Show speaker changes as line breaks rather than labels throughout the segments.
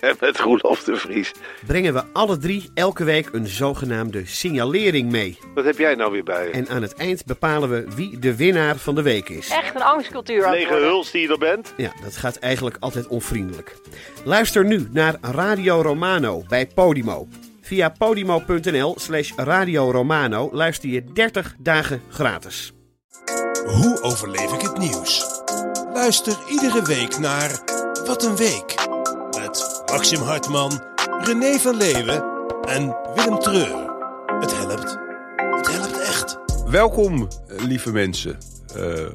En met Roelof de Vries.
brengen we alle drie elke week een zogenaamde signalering mee.
Wat heb jij nou weer bij je?
En aan het eind bepalen we wie de winnaar van de week is.
Echt een angstcultuur. aan het
Lege
worden.
huls die je er bent?
Ja, dat gaat eigenlijk altijd onvriendelijk. Luister nu naar Radio Romano bij Podimo. Via podimo.nl slash Radio Romano luister je 30 dagen gratis.
Hoe overleef ik het nieuws? Luister iedere week naar Wat een Week. Met Maxim Hartman, René van Leeuwen en Willem Treur. Het helpt. Het helpt echt.
Welkom, eh, lieve mensen. Eh,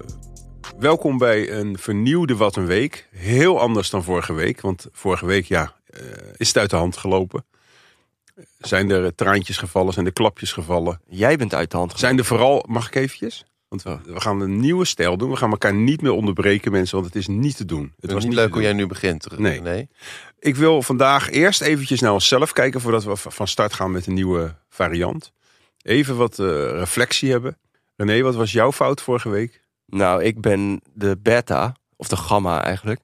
welkom bij een vernieuwde Wat een Week. Heel anders dan vorige week, want vorige week ja, eh, is het uit de hand gelopen. Zijn er eh, traantjes gevallen, zijn er klapjes gevallen.
Jij bent uit de hand Oh. gezet.
Zijn er vooral, mag ik eventjes? Want
Ja.
we gaan een nieuwe stijl doen. We gaan elkaar niet meer onderbreken, mensen, want het is niet te doen.
Het
was
was niet
te
leuk hoe
doen.
jij nu begint.
Nee.
eh, nee.
Ik wil vandaag eerst eventjes naar onszelf kijken voordat we v- van start gaan met een nieuwe variant. Even wat eh, reflectie hebben. René, wat was jouw fout vorige week?
Nou, ik ben de beta, of de gamma eigenlijk,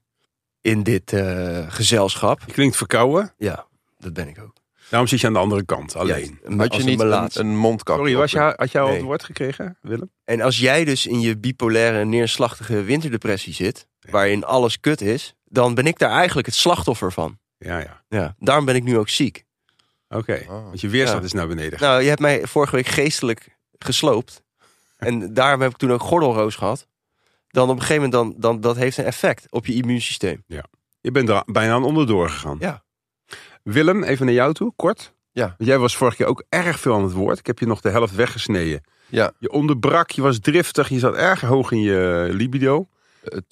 in dit eh, gezelschap.
Je klinkt verkouden.
Ja, dat ben ik ook.
Daarom zit je aan de andere kant, alleen.
Ja,
Had
als
je
een
niet een,
melaatse.
een mondkapje?
Sorry, was je, had jij al het
Nee.
woord gekregen, Willem?
En als jij dus in je bipolaire neerslachtige winterdepressie zit, waarin alles kut is, dan ben ik daar eigenlijk het slachtoffer van.
Ja, ja.
Ja. Daarom ben ik nu ook ziek.
Oké,
Ah.
want je weerstand
Oh. Ja.
is naar beneden. gegaan.
Nou, je hebt mij vorige week geestelijk gesloopt. En daarom heb ik toen ook gordelroos gehad. Dan op een gegeven moment, dan, dan, dat heeft een effect op je immuunsysteem.
Je bent er bijna aan onderdoor gegaan.
Ja.
Willem, even naar jou toe, kort.
Ja.
Want jij was vorige keer ook erg veel aan het woord. Ik heb je nog de helft weggesneden.
Ja.
Je onderbrak, je was driftig, je zat erg hoog in je libido.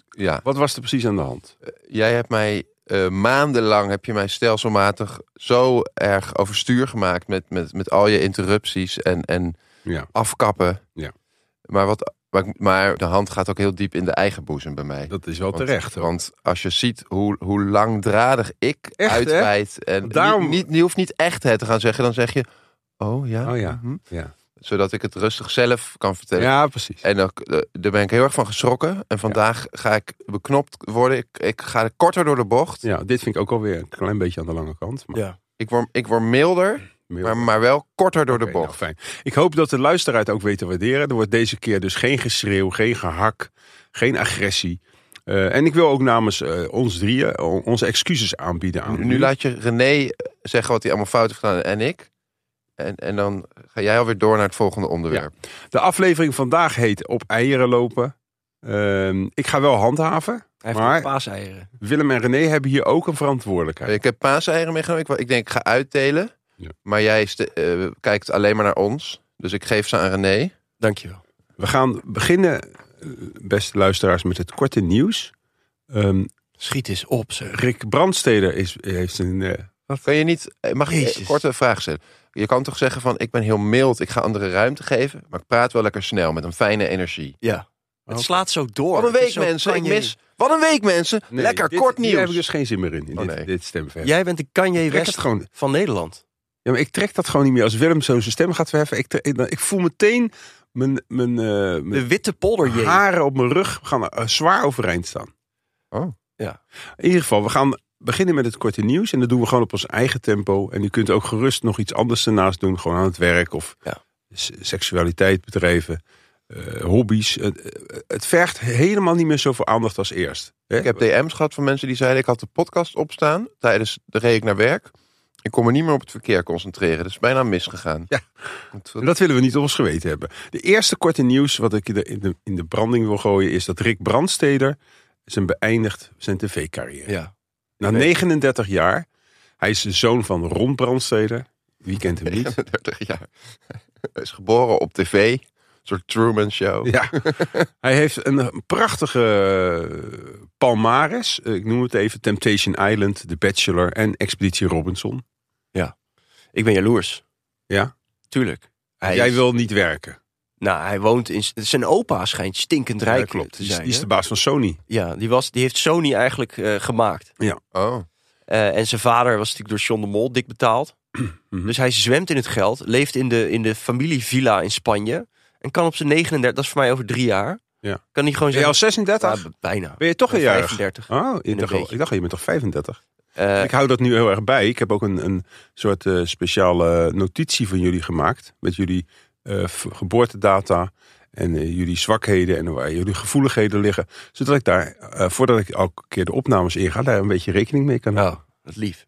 Ja,
Wat was er precies aan de hand?
jij hebt mij eh, maandenlang heb je mij stelselmatig zo erg overstuur gemaakt met, met, met al je interrupties en, en
Ja,
afkappen.
Ja.
Maar, wat, maar, ik- maar de hand gaat ook heel diep in de eigen boezem bij mij.
dat is wel
Want-
terecht. hoor.
Want als je ziet hoe, hoe langdradig ik
Echt, hè?
uitwijd. En
Daarom-
niet, niet- je hoeft niet echt het te gaan zeggen. Dan zeg je, oh ja.
Oh ja,
mhm.
ja.
Zodat ik het rustig zelf kan vertellen.
ja, precies.
En ook, eh, daar ben ik heel erg van geschrokken. En vandaag ga ik beknopt worden. Ik, ik ga korter door de bocht.
Ja, dit vind ik ook alweer een klein beetje aan de lange kant. Maar
Ja.
Ik, word, ik word milder,
meer-
maar, maar wel korter door de
Oké, nou,
bocht.
fijn. Ik hoop dat de luisteraar het ook weet te waarderen. Er wordt deze keer dus geen geschreeuw, geen gehak, geen agressie. Eh, en ik wil ook namens eh, ons drieën o- onze excuses aanbieden aan
nu,
u.
nu laat je René eh, zeggen wat hij allemaal fout heeft gedaan en ik. En, en dan ga jij alweer door naar het volgende onderwerp.
De aflevering vandaag heet Op eieren lopen. Ehm, ik ga wel handhaven.
Hij heeft
Maar-
ook paaseieren.
Willem en René hebben hier ook een verantwoordelijkheid.
Ik heb paaseieren meegenomen. Ik, wa- ik denk, ik ga uitdelen.
Ja.
Maar jij is de- eh, kijkt alleen maar naar ons. Dus ik geef ze aan René.
Dankjewel.
We gaan beginnen, eh, beste luisteraars, met het korte nieuws. Ehm,
Schiet eens op, zeg.
Rick Brandsteder is, heeft een... eh,
Kan je niet, eh, mag ik
Jezus.
een korte vraag stellen? Je kan toch zeggen van, ik ben heel mild. Ik ga anderen ruimte geven. Maar ik praat wel lekker snel met een fijne energie.
Ja. Het
Oké.
slaat zo door.
Wat een
Het is
week,
zo
mensen. Ik
Kanye.
mis. Wat een week, mensen.
nee,
Lekker
dit-
kort
Hier heb
nieuws.
ik dus geen zin meer in, in
Oh,
dit,
nee.
dit stemver.
Jij bent de Kanye
Ik trek
West
het gewoon.
van Nederland.
Ja, maar ik trek dat gewoon niet meer. Als Willem zo zijn stem gaat verheffen, ik, tre- ik, ik voel meteen mijn, mijn, eh, mijn
De witte polderje.
haren op mijn rug gaan eh, zwaar overeind staan.
Oh.
Ja.
In ieder geval, we gaan beginnen met het korte nieuws. En dat doen we gewoon op ons eigen tempo. En u kunt ook gerust nog iets anders ernaast doen. Gewoon aan het werk of
Ja.
s- seksualiteit bedrijven. eh, hobby's. Het, het vergt helemaal niet meer zoveel aandacht als eerst. Hè?
Ik heb DM's gehad van mensen die zeiden: ik had de podcast opstaan tijdens de reed ik naar werk. Ik kon me niet meer op het verkeer concentreren. Dat is bijna misgegaan.
Ja.
Want
Maar
wat-
Dat willen we niet op ons geweten hebben. De eerste korte nieuws wat ik in de- in de, in de branding wil gooien is dat Rick Brandsteder zijn beëindigt zijn tv-carrière.
Ja.
Na 39 jaar, hij is de zoon van Ron Brandsteder. Wie kent hem niet?
39 jaar. Hij is geboren op tv. Een soort Truman Show.
Ja. Hij heeft een prachtige eh, palmares. Eh, Ik noem het even Temptation Island, The Bachelor en Expeditie Robinson.
Ik ben jaloers.
Ja?
Tuurlijk. Hij
Jij
is-
wil niet werken.
Nou, hij woont in... Zijn opa schijnt stinkend rijk
Ja, klopt.
te
Die is,
zijn.
die is
hè?
de baas van Sony.
Ja, die, was, die heeft Sony eigenlijk eh, gemaakt.
Oh.
Eh, en zijn vader was natuurlijk door John de Mol dik betaald.
Mhm.
Dus hij zwemt in het geld, leeft in de, in de familievilla in Spanje. En kan op zijn 39, dat is voor mij over drie jaar.
Ja.
Kan hij gewoon
Ben je
zeggen...
al 36?
Ja, b- bijna.
Ben je toch een
Ik ben
jaar?
35.
Oh,
een
ik dacht, al,
beetje.
ik dacht al, je bent toch 35?
Eh,
ik hou dat nu heel erg bij. Ik heb ook een, een soort eh, speciale notitie van jullie gemaakt. Met jullie eh, v- geboortedata en eh, jullie zwakheden en waar jullie gevoeligheden liggen. Zodat ik daar, eh, voordat ik elke keer de opnames inga, daar een beetje rekening mee kan houden.
nou, dat lief.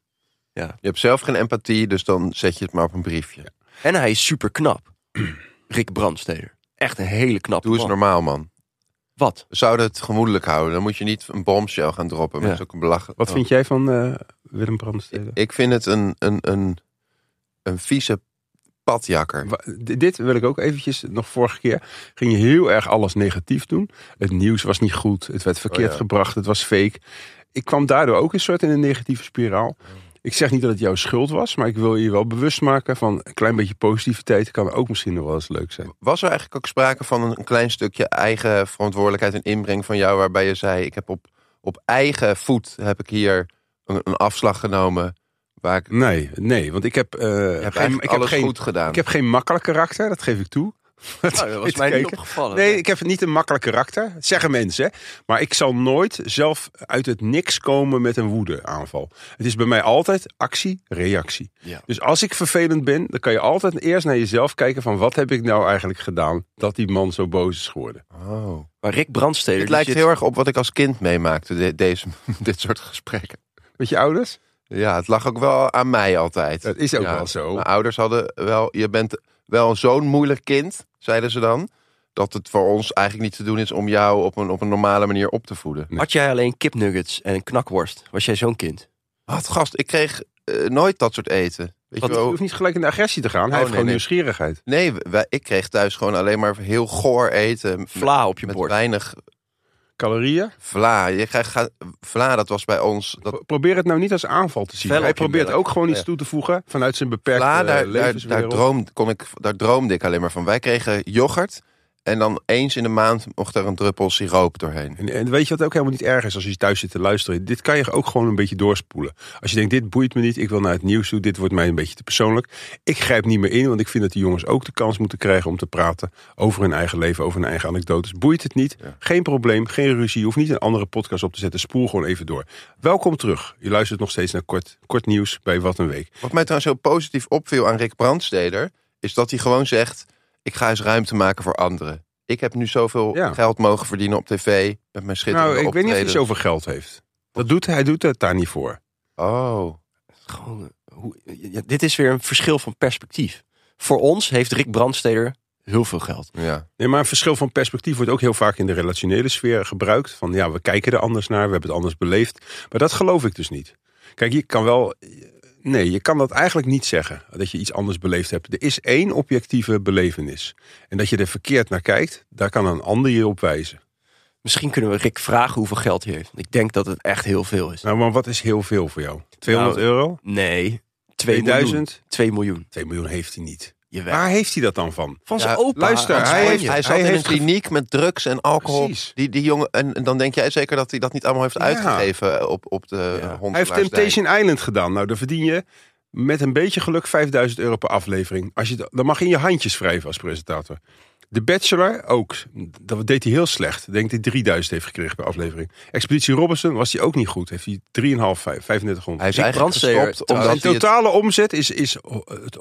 Je hebt zelf geen empathie, dus dan zet je het maar op een briefje.
En hij is super knap. Rick Brandsteder. Echt een hele knap
Doe eens
man.
normaal, man.
Wat?
We zouden het gemoedelijk houden. Dan moet je niet een bombshell gaan droppen met
Ja.
zulke belachelijk.
Wat vind jij van eh, Willem Brandstede?
Ik vind het een, een, een, een vieze padjakker.
Wa- d- Dit wil ik ook eventjes, nog vorige keer ging je heel erg alles negatief doen. Het nieuws was niet goed, het werd verkeerd
Oh ja.
gebracht, het was fake. Ik kwam daardoor ook een soort in een negatieve spiraal. Ik zeg niet dat het jouw schuld was, maar ik wil je wel bewust maken van een klein beetje positiviteit kan ook misschien nog wel eens leuk zijn.
Was er eigenlijk ook sprake van een klein stukje eigen verantwoordelijkheid en inbreng van jou, waarbij je zei: Ik heb op, op eigen voet heb ik hier een, een afslag genomen. Waar ik,
Nee, nee, want ik heb, eh,
je hebt
geen,
eigenlijk
ik heb,
alles
geen,
goed gedaan.
ik heb geen makkelijk karakter, dat geef ik toe.
Nou, dat was
Even
mij niet
kijken.
opgevallen.
Nee, ik heb niet een makkelijk karakter. Dat zeggen mensen. hè. Maar ik zal nooit zelf uit het niks komen met een woedeaanval. Het is bij mij altijd actie, reactie.
Ja.
Dus als ik vervelend ben, dan kan je altijd eerst naar jezelf kijken van wat heb ik nou eigenlijk gedaan dat die man zo boos is geworden.
Oh.
Maar Rick Brandsteder...
Het
die
lijkt
zit-
heel erg op wat ik als kind meemaakte, de- deze, dit soort gesprekken.
Met je ouders?
Ja, het lag ook wel aan mij altijd.
Dat is ook
Ja,
wel zo.
Mijn ouders hadden wel, je bent wel zo'n moeilijk kind, zeiden ze dan, dat het voor ons eigenlijk niet te doen is om jou op een, op een normale manier op te voeden.
Had jij alleen kipnuggets en een knakworst? Was jij zo'n kind?
Wat gast, ik kreeg eh, nooit dat soort eten. Weet
Wat
je
Je
wel?
hoeft niet gelijk in de agressie te gaan. Hij
Oh,
heeft
nee,
gewoon
nee.
nieuwsgierigheid.
Nee, wij- ik kreeg thuis gewoon alleen maar heel goor eten. met-
Vla op je
met
bord.
weinig
Calorieën?
vla. Je krijgt, ga- vla, dat was bij ons. Dat,
Pro- Probeer het nou niet als aanval te zien.
Fel
Hij
op je
probeert
melk.
ook gewoon iets
Ja.
toe te voegen vanuit zijn beperkte
vla,
eh,
daar, daar, daar,
levenswereld.
droomde, kon ik, daar droomde ik alleen maar van. Wij kregen yoghurt en dan eens in de maand mocht er een druppel siroop doorheen.
En, en weet je wat ook helemaal niet erg is als je thuis zit te luisteren? Dit kan je ook gewoon een beetje doorspoelen. Als je denkt, dit boeit me niet, ik wil naar het nieuws toe, dit wordt mij een beetje te persoonlijk. Ik grijp niet meer in, want ik vind dat die jongens ook de kans moeten krijgen om te praten over hun eigen leven, over hun eigen anekdotes. Boeit het niet, geen probleem, geen ruzie, je hoeft niet een andere podcast op te zetten. Spoel gewoon even door. Welkom terug. Je luistert nog steeds naar kort, kort nieuws bij Wat een Week.
Wat mij trouwens heel positief opviel aan Rick Brandsteder, is dat hij gewoon zegt: Ik ga eens ruimte maken voor anderen. Ik heb nu zoveel
Ja.
geld mogen verdienen op tv met mijn schitterende
Nou, ik weet niet of hij
optredens.
zoveel geld heeft. Dat doet, hij- hij doet het daar niet voor.
Oh,
Gewoon, eh, hoe, ja, dit is weer een verschil van perspectief. Voor ons heeft Rick Brandsteder heel veel geld.
ja.
Nee, maar een verschil van perspectief wordt ook heel vaak in de relationele sfeer gebruikt. Van ja, we kijken er anders naar, we hebben het anders beleefd. Maar dat geloof ik dus niet. Kijk, je kan wel. Nee, je kan dat eigenlijk niet zeggen. Dat je iets anders beleefd hebt. Er is één objectieve belevenis. En dat je er verkeerd naar kijkt, daar kan een ander je op wijzen.
Misschien kunnen we Rick vragen hoeveel geld hij heeft. Ik denk dat het echt heel veel is.
Nou, maar wat is heel veel voor jou? 200
Nou,
euro?
Nee, 2 miljoen.
2000?
2 miljoen.
2 miljoen heeft hij niet.
Jawel.
Waar heeft hij dat dan van?
van zijn
Ja,
opa.
luister,
uit
hij
Spanje.
heeft-
Hij zat in
heeft
een kliniek met drugs en alcohol.
Precies.
Die, die jongen, en, en dan denk jij zeker dat hij dat niet allemaal heeft
Ja.
uitgegeven eh, op, op de
Ja.
hond.
Hij heeft Temptation Island gedaan. Nou, dan verdien je met een beetje geluk 5000 euro per aflevering. Als je, dat- dan mag je in je handjes wrijven als presentator. De Bachelor ook. Dat deed hij heel slecht. Ik denk dat hij 3000 heeft gekregen per aflevering. Expeditie Robinson was hij ook niet goed. Heeft hij 3,5, 3500.
Hij is
Rick
eigenlijk
Brandsteder,
gestopt omdat
trouwens,
Zijn
hij het-
totale omzet is, is ho- het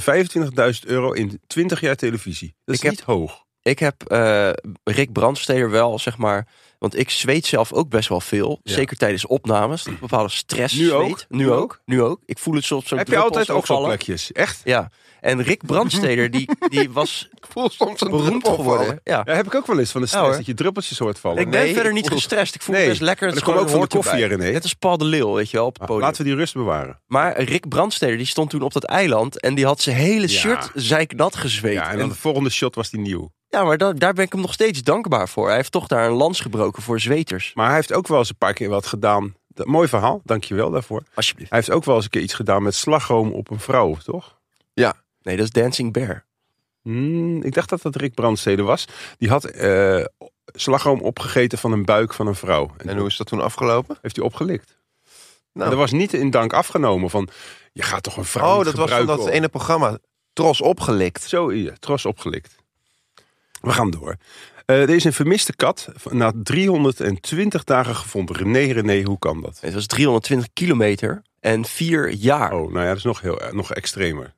125.000 euro in 20 jaar televisie. Dat is
Ik heb-
niet hoog.
Ik heb eh, Rick Brandsteder wel, zeg maar... Want ik zweet zelf ook best wel veel.
Ja. Mm.
Zeker tijdens opnames. dat ik bepaalde stress
Nu ook?
zweet. Nu ook. Nu ook. Ik voel het soms zo'n
Heb je
druppel
altijd
zo
ook zo'n
vallen.
plekjes? Echt?
Ja. En Rick Brandsteder, die, die was
Ik voel soms een
beroemd geworden. Ja.
Ja, heb ik ook wel eens van de stress
Nou, hoor.
dat je druppeltjes hoort vallen.
Ik ben
Nee,
verder
ik
niet
voel-
gestrest. Ik voel
Nee,
me best lekker.
maar
Het
dat
is
komt
gewoon-
ook van de
hoort
koffie,
erbij.
hè, René?
Net als Paul de Leeuw, weet je wel, op het podium.
Nou, Laten we die rust bewaren.
Maar Rick Brandsteder, die stond toen op dat eiland... en die had zijn hele
Ja.
shirt zeiknat gezweet.
Ja, en dan de volgende shot was die nieuw.
Ja, maar da- daar ben ik hem nog steeds dankbaar voor. Hij heeft toch daar een lans gebroken voor zweters.
Maar hij heeft ook wel eens een paar keer wat gedaan. Dat, mooi verhaal, dankjewel daarvoor.
Alsjeblieft.
Hij heeft ook wel eens een keer iets gedaan met slagroom op een vrouw, toch?
Ja.
Nee, dat is Dancing Bear.
Hmm, ik dacht dat dat Rick Brandstede was. Die had eh, slagroom opgegeten van een buik van een vrouw. En,
En
toen
hoe is dat toen afgelopen?
heeft hij opgelikt.
Nou.
En dat was niet in dank afgenomen van... Je gaat toch een vrouw
Oh,
niet
dat was van
gebruiken
dat
om-
ene programma. Tros opgelikt.
Zo, ja, tros opgelikt. We gaan door. Eh, er is een vermiste kat na 320 dagen gevonden. René, René, hoe kan dat?
Het was 320 kilometer en vier jaar.
Oh, nou ja, dat is nog, heel, eh, nog extremer.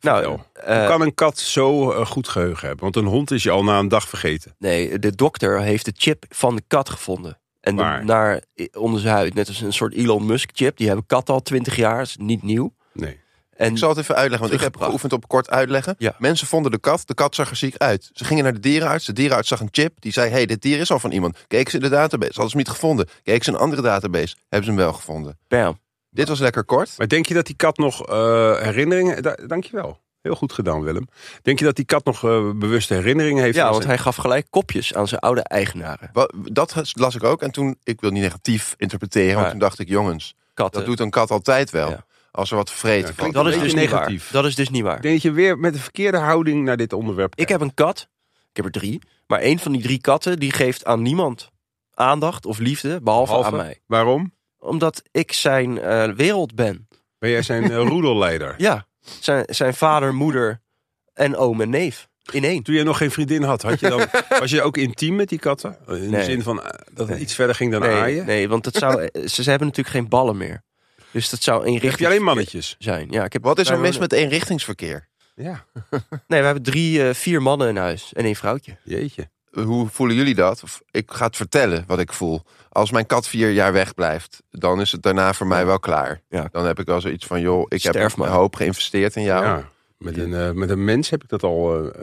nou,
vertel.
eh,
hoe kan een kat zo eh, goed geheugen hebben? Want een hond is je al na een dag vergeten.
nee, de dokter heeft de chip van de kat gevonden. En de-
Waar?
naar onder zijn huid. Net als een soort Elon Musk chip. Die hebben katten al 20 jaar. is niet nieuw.
Nee.
En
Ik zal het even uitleggen, want ik heb
Teruggebracht.
geoefend op kort uitleggen.
Ja.
Mensen vonden de kat, de kat zag er ziek uit. Ze gingen naar de dierenarts, de dierenarts zag een chip. Die zei, hey, dit dier is al van iemand. Keken ze in de database, hadden ze hem niet gevonden. Keken ze in een andere database, hebben ze hem wel gevonden.
bam.
Dit was lekker kort.
Maar denk je dat die kat nog eh, herinneringen... Da dankjewel. Heel goed gedaan, Willem. Denk je dat die kat nog eh, bewuste herinneringen heeft?
Ja,
aan
want
zijn-
hij gaf gelijk kopjes aan zijn oude eigenaren.
Wa- Dat las ik ook en toen, ik wil niet negatief interpreteren, want
Maar-
toen dacht ik, jongens,
Katten.
dat doet een kat altijd wel.
eh, Ja.
Als er wat vreten
Ja,
valt.
klinkt
Dat is
een
dus
beetje
niet waar.
negatief.
Dat is dus niet waar.
Ik denk dat je weer met de verkeerde houding naar dit onderwerp
Ik
kijkt.
heb een kat. Ik heb er drie. Maar één van die drie katten die geeft aan niemand aandacht of liefde, behalve,
Behalve-
aan mij.
Waarom?
Omdat ik zijn eh, wereld ben.
Ben jij zijn eh, roedelleider?
Ja, zijn, zijn vader, moeder en oom en neef. In één.
Toen je nog geen vriendin had, had je dan, was je ook intiem met die katten? In de
Nee.
zin van eh, dat het
Nee.
iets verder ging dan
Nee,
aaien?
nee want dat zou, ze, ze hebben natuurlijk geen ballen meer. Dus dat zou één
Heb je
richting
alleen mannetjes?
zijn. Ja, ik heb,
Wat is er
wij
mis
wonen-
met eenrichtingsverkeer?
Ja.
Nee, we hebben drie, eh, vier mannen in huis en één vrouwtje.
Jeetje.
Hoe voelen jullie dat? Of Ik ga het vertellen wat ik voel. Als mijn kat vier jaar wegblijft, dan is het daarna voor mij wel klaar.
Ja.
Dan heb ik wel zoiets van, joh, ik
Sterf
heb
maar.
een hoop geïnvesteerd in jou.
Ja. Met een, eh, met een mens heb ik dat al. eh, eh, ik
is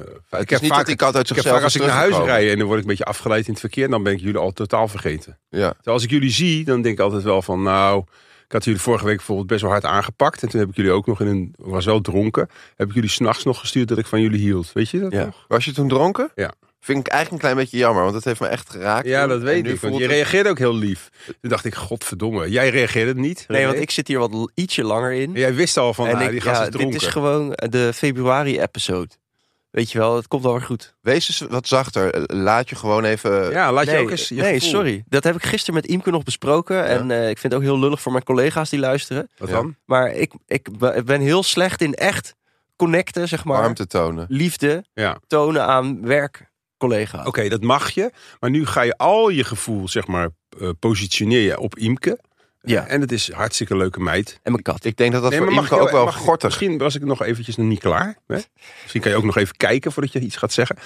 heb
niet dat die kat uit
ik heb
zichzelf
vaak als
is
ik naar huis
teruggekomen.
rijd en dan word ik een beetje afgeleid in het verkeer, dan ben ik jullie al totaal vergeten.
Ja.
Terwijl als ik jullie zie, dan denk ik altijd wel van, nou, ik had jullie vorige week bijvoorbeeld best wel hard aangepakt en toen heb ik jullie ook nog in een, ik was wel dronken, heb ik jullie s'nachts nog gestuurd dat ik van jullie hield. Weet je dat
Ja.
nog?
Was je toen dronken?
Ja.
Vind ik eigenlijk een klein beetje jammer, want dat heeft me echt geraakt.
Ja, dat
En
weet
nu
ik. Want
voelt
je
het-
reageerde ook heel lief. Toen dacht ik, godverdomme, jij reageerde niet.
Nee, want
René?
ik zit hier wat l- ietsje langer in.
En Jij wist al van,
en
ah,
ik,
die gast
ja,
is dronken.
Dit is gewoon eh, de februari-episode. Weet je wel, het komt alweer goed.
Wees eens wat zachter. Laat je gewoon even...
ja, laat
nee,
je ook eens je
nee
gevoel-
sorry. Dat heb ik gisteren met Imke nog besproken. En eh, ik vind het ook heel lullig voor mijn collega's die luisteren.
Wat
Ja.
dan?
Maar ik, ik be- ben heel slecht in echt connecten, zeg maar.
warmte tonen.
Liefde
Ja.
tonen aan werkcollega's.
Oké, dat mag je. Maar nu ga je al je gevoel, zeg maar, eh, positioneren op Imke. Eh,
Ja.
En het is een hartstikke leuke meid.
En mijn kat.
Ik denk dat dat voor
mag
Imke
je
ook wel
mag je-
gortig
Misschien was ik nog eventjes nog niet klaar. Hè? Misschien kan je ook nog even kijken voordat je iets gaat zeggen.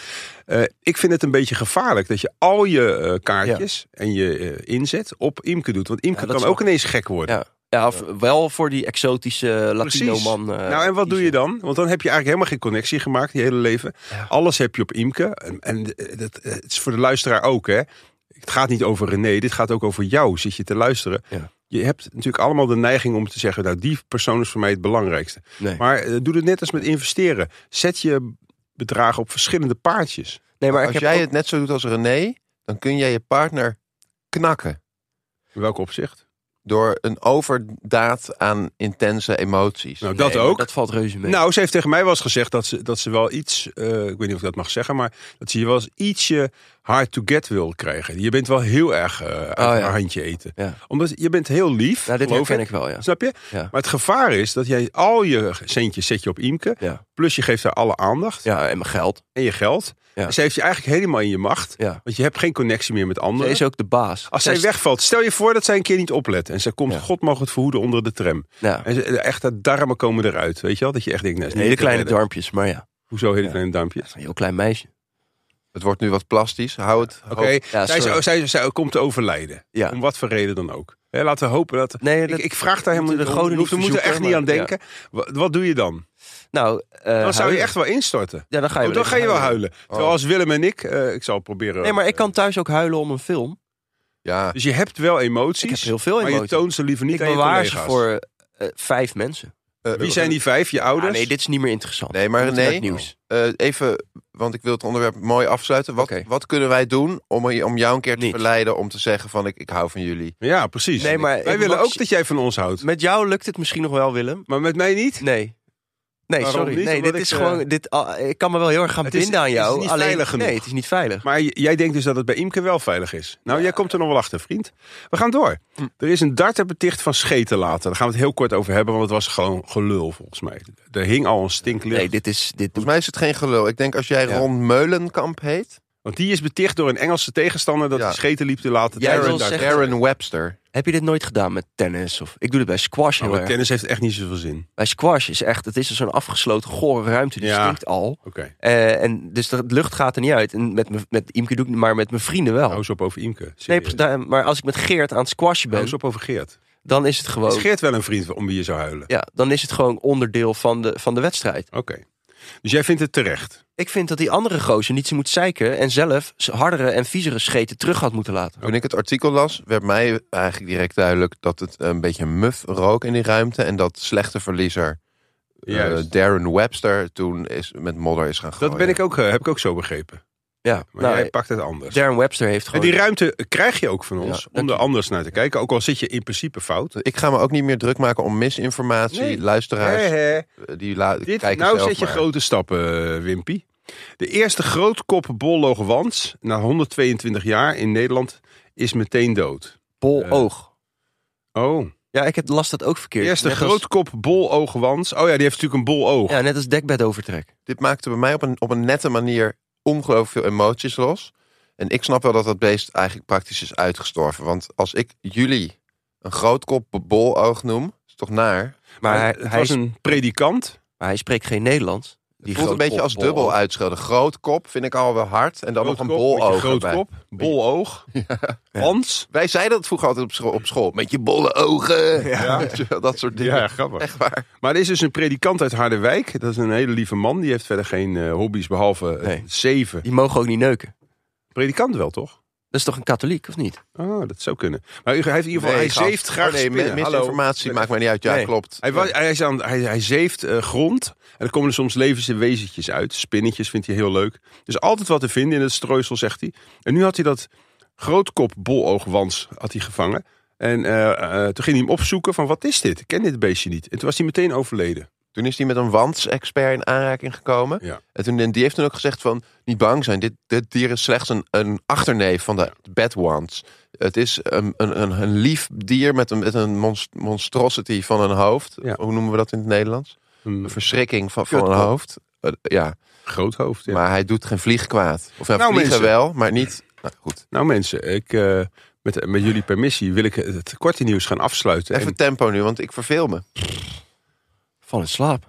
Eh, ik vind het een beetje gevaarlijk dat je al je eh, kaartjes en je eh, inzet op Imke doet. Want Imke
Ja, dat
kan
is
ook ineens gek worden.
Ja. Ja, of wel voor die exotische Latino-man. eh,
nou, en wat doe je
kiezen.
dan? Want dan heb je eigenlijk helemaal geen connectie gemaakt je hele leven. Alles heb je op Imke. En, en eh, dat, eh, het is voor de luisteraar ook, hè. Het gaat niet over René, dit gaat ook over jou, zit je te luisteren.
Ja.
Je hebt natuurlijk allemaal de neiging om te zeggen... nou, die persoon is voor mij het belangrijkste.
Nee.
Maar eh, doe het net als met investeren. Zet je bedragen op verschillende paardjes.
Nee, maar ik
Als
heb
jij
ook-
het net zo doet als René, dan kun jij je partner knakken.
In welk opzicht?
Door een overdaad aan intense emoties.
Nou,
Nee,
dat
maar
ook.
Dat valt reuze mee.
Nou, ze heeft tegen mij wel eens gezegd dat ze, dat ze wel iets, eh, ik weet niet of ik dat mag zeggen, maar dat ze je wel eens ietsje hard to get wil krijgen. Je bent wel heel erg eh uit
Oh, ja.
haar handje eten.
Ja.
Omdat je bent heel lief,
nou dit
geloof
herken
ik.
ik wel, ja.
Snap je?
Ja.
Maar het gevaar is dat jij al je centjes zet je op Imke.
Ja.
Plus je geeft haar alle aandacht
Ja, en mijn geld.
en je geld.
Ja.
Ze heeft je eigenlijk helemaal in je macht.
Ja.
Want je hebt geen connectie meer met
Zij
anderen.
is ook de baas.
Als zij
is-
wegvalt, stel je voor dat zij een keer niet oplet. En zij komt,
Ja.
god mogen het verhoeden, onder de tram.
Ja,
En ze, echt, de darmen komen eruit. Weet je wel? Dat je echt denkt, nee, is niet
hele
te
kleine
redden.
darmpjes, maar ja.
Hoezo hele
Ja.
kleine duimpjes?
Een heel klein meisje.
Het wordt nu wat plastisch. Hou het.
Oké,
hoog.
Ja,
Oh. zij,
sorry.
zij, zij, zij komt te overlijden.
Ja.
Om wat voor reden dan ook. Hè, laten we hopen dat...
Nee,
Ik,
dat-
ik vraag daar helemaal
moeten
niet
de
om.
goden
Je
niet
hoeft- We moeten er echt niet
verzoeken,
aan
maar-
denken. Wat, wat doe je dan?
nou, eh,
Dan zou je
huilen.
echt wel instorten.
Ja, dan ga je,
Oh, dan ga je wel huilen. Terwijl
Oh.
als Willem en ik... eh, ik zal proberen...
Nee, maar ik kan thuis ook huilen om een film.
Ja.
Dus je hebt wel emoties.
Ik heb heel veel
Maar je
emoties.
toont ze liever niet
Ik
aan je
bewaar ze
collega's.
voor eh, vijf mensen.
Eh,
Wie zijn die vijf? Je ouders?
Ah, nee, dit is niet meer interessant.
Nee, maar
We moeten naar
René,
het nieuws.
eh, even, want ik wil het onderwerp mooi afsluiten. Wat,
Oké.
wat kunnen wij doen om, om jou een keer te
Niet.
verleiden om te zeggen van ik, ik hou van jullie?
Ja, precies.
Nee, maar
Wij
ik
willen
mag-
ook dat jij van ons houdt.
Met jou lukt het misschien nog wel, Willem.
Maar met mij niet?
Nee. Nee,
Waarom
sorry.
niet?
Nee,
Omdat
dit is
ik, eh,
gewoon. Dit, ah, ik kan me wel heel erg gaan
Het is-
binden aan
het is
jou.
niet
alleen,
veilig genoeg.
Nee, het is niet veilig.
Maar j- jij denkt dus dat het bij Imke wel veilig is. Nou, jij komt er nog wel achter, vriend. We gaan door. Er is een darter beticht van scheten laten. Daar gaan we het heel kort over hebben, want het was gewoon gelul volgens mij. Er hing al een stinklucht.
Nee, dit is. Dit,
Volgens mij is het geen gelul. Ik denk als jij
Ja.
Ron Meulenkamp heet.
Want die is beticht door een Engelse tegenstander dat
Ja.
hij scheten liep te laten.
Jij
tijdens
wil
een darter.
zeggen-
Aaron Webster.
heb je dit nooit gedaan met tennis? Of, ik doe dit bij squash
Oh,
heel
maar
erg.
tennis heeft echt niet zoveel zin.
Bij squash is echt. Het is zo'n afgesloten, gore ruimte. Die
Ja.
stinkt al.
Oké.
Eh, en dus de lucht gaat er niet uit. En met, me- met Imke doe ik niet, maar met mijn vrienden wel.
Hou eens op over Imke.
nee,
Serieus.
precies, daar- maar als ik met Geert aan het squashen
Hou
ben, Oh.
eens op over Geert.
dan is het
Is
gewoon.
Geert wel een vriend om wie je zou huilen?
Ja, dan is het gewoon onderdeel van de, van de wedstrijd.
Oké. Dus jij vindt het terecht.
Ik vind dat die andere gozer niet zo moet zeiken en zelf z- hardere en viezere scheten terug had moeten laten.
Toen ik het artikel las, werd mij eigenlijk direct duidelijk dat het een beetje muf rook in die ruimte. En dat slechte verliezer eh,
Juist.
Darren Webster toen is, met modder is gaan gooien.
dat ben ik ook, eh, heb ik ook zo begrepen.
Ja,
Maar
nou,
jij pakt het anders.
Darren Webster heeft
En
gewoon.
die ruimte krijg je ook van ons
Ja,
om
dank
er
je.
anders naar te kijken. Ook al zit je in principe fout.
Ik ga me ook niet meer druk maken om misinformatie.
Nee.
Luisteraars,
Hè, hè.
eh, die la-
Dit,
kijken
nou
zelf
zet je
maar.
grote stappen, eh, Wimpy. De eerste grootkop bolloog Wans, na 122 jaar in Nederland, is meteen dood.
bol
eh,
oog.
Oh,
Ja, ik heb last dat ook
de
verkeerd.
eerste
Net als-
grootkop boloog Wans. Oh ja, die heeft natuurlijk een bol oog.
Ja, net als dekbed overtrek.
Dit maakte bij mij op een, op een nette manier ongelooflijk veel emoties los. En ik snap wel dat dat beest eigenlijk praktisch is uitgestorven. Want als ik jullie een grootkop boloog noem, is toch naar?
Maar hij,
het
hij,
was
is-
een predikant.
maar hij spreekt geen Nederlands. Die
Het voelt een
grote
beetje als
bol- bol-
dubbel
oog.
uitschelden. Groot kop vind ik al wel hard. En dan nog een bol oog erbij.
Grootkop, bol oog. Wans.
Wij zeiden dat vroeger altijd op school. Op school. Met je bolle ogen. Weet je wel, dat soort dingen.
Ja, grappig.
Echt waar.
Maar er is dus een predikant uit Harderwijk. Dat is een hele lieve man. Die heeft verder geen eh, hobby's behalve eh,
Nee.
zeven.
Die mogen ook niet neuken.
Predikant wel, toch?
Dat is toch een katholiek, of niet?
Oh, dat zou kunnen. Maar hij heeft in ieder geval, hij
gast.
zeeft graag
Oh, nee,
spinnen.
mi-
Hallo.
Misinformatie maakt mij niet uit. Ja,
Nee.
klopt.
Hij, wa- hij, is aan, hij, hij zeeft eh, grond. En er komen er soms levende wezentjes uit. Spinnetjes vindt hij heel leuk. Dus altijd wat te vinden in het strooisel, zegt hij. En nu had hij dat grootkop boloogwans had hij gevangen. En eh, eh, toen ging hij hem opzoeken van wat is dit? Ik ken dit beestje niet. En toen was hij meteen overleden.
Toen is hij met een wandsexpert in aanraking gekomen.
Ja.
En, toen, en die heeft toen ook gezegd van... Niet bang zijn. Dit, dit dier is slechts een, een achterneef van de bedwants. Het is een, een, een, een lief dier met een, met een monst- monstrosity van een hoofd.
Ja.
Hoe noemen we dat in het Nederlands?
Een
Een verschrikking van, van een
Kutkop.
hoofd. Eh, ja.
groot hoofd. Ja.
Maar hij doet geen vlieg kwaad. Of nou,
Nou,
vliegen
mensen.
wel, maar niet... Nou, goed.
Nou mensen, ik, eh, met, met jullie permissie wil ik het korte nieuws gaan afsluiten.
Even
En-
tempo nu, want ik verveel me.
Van in slaap.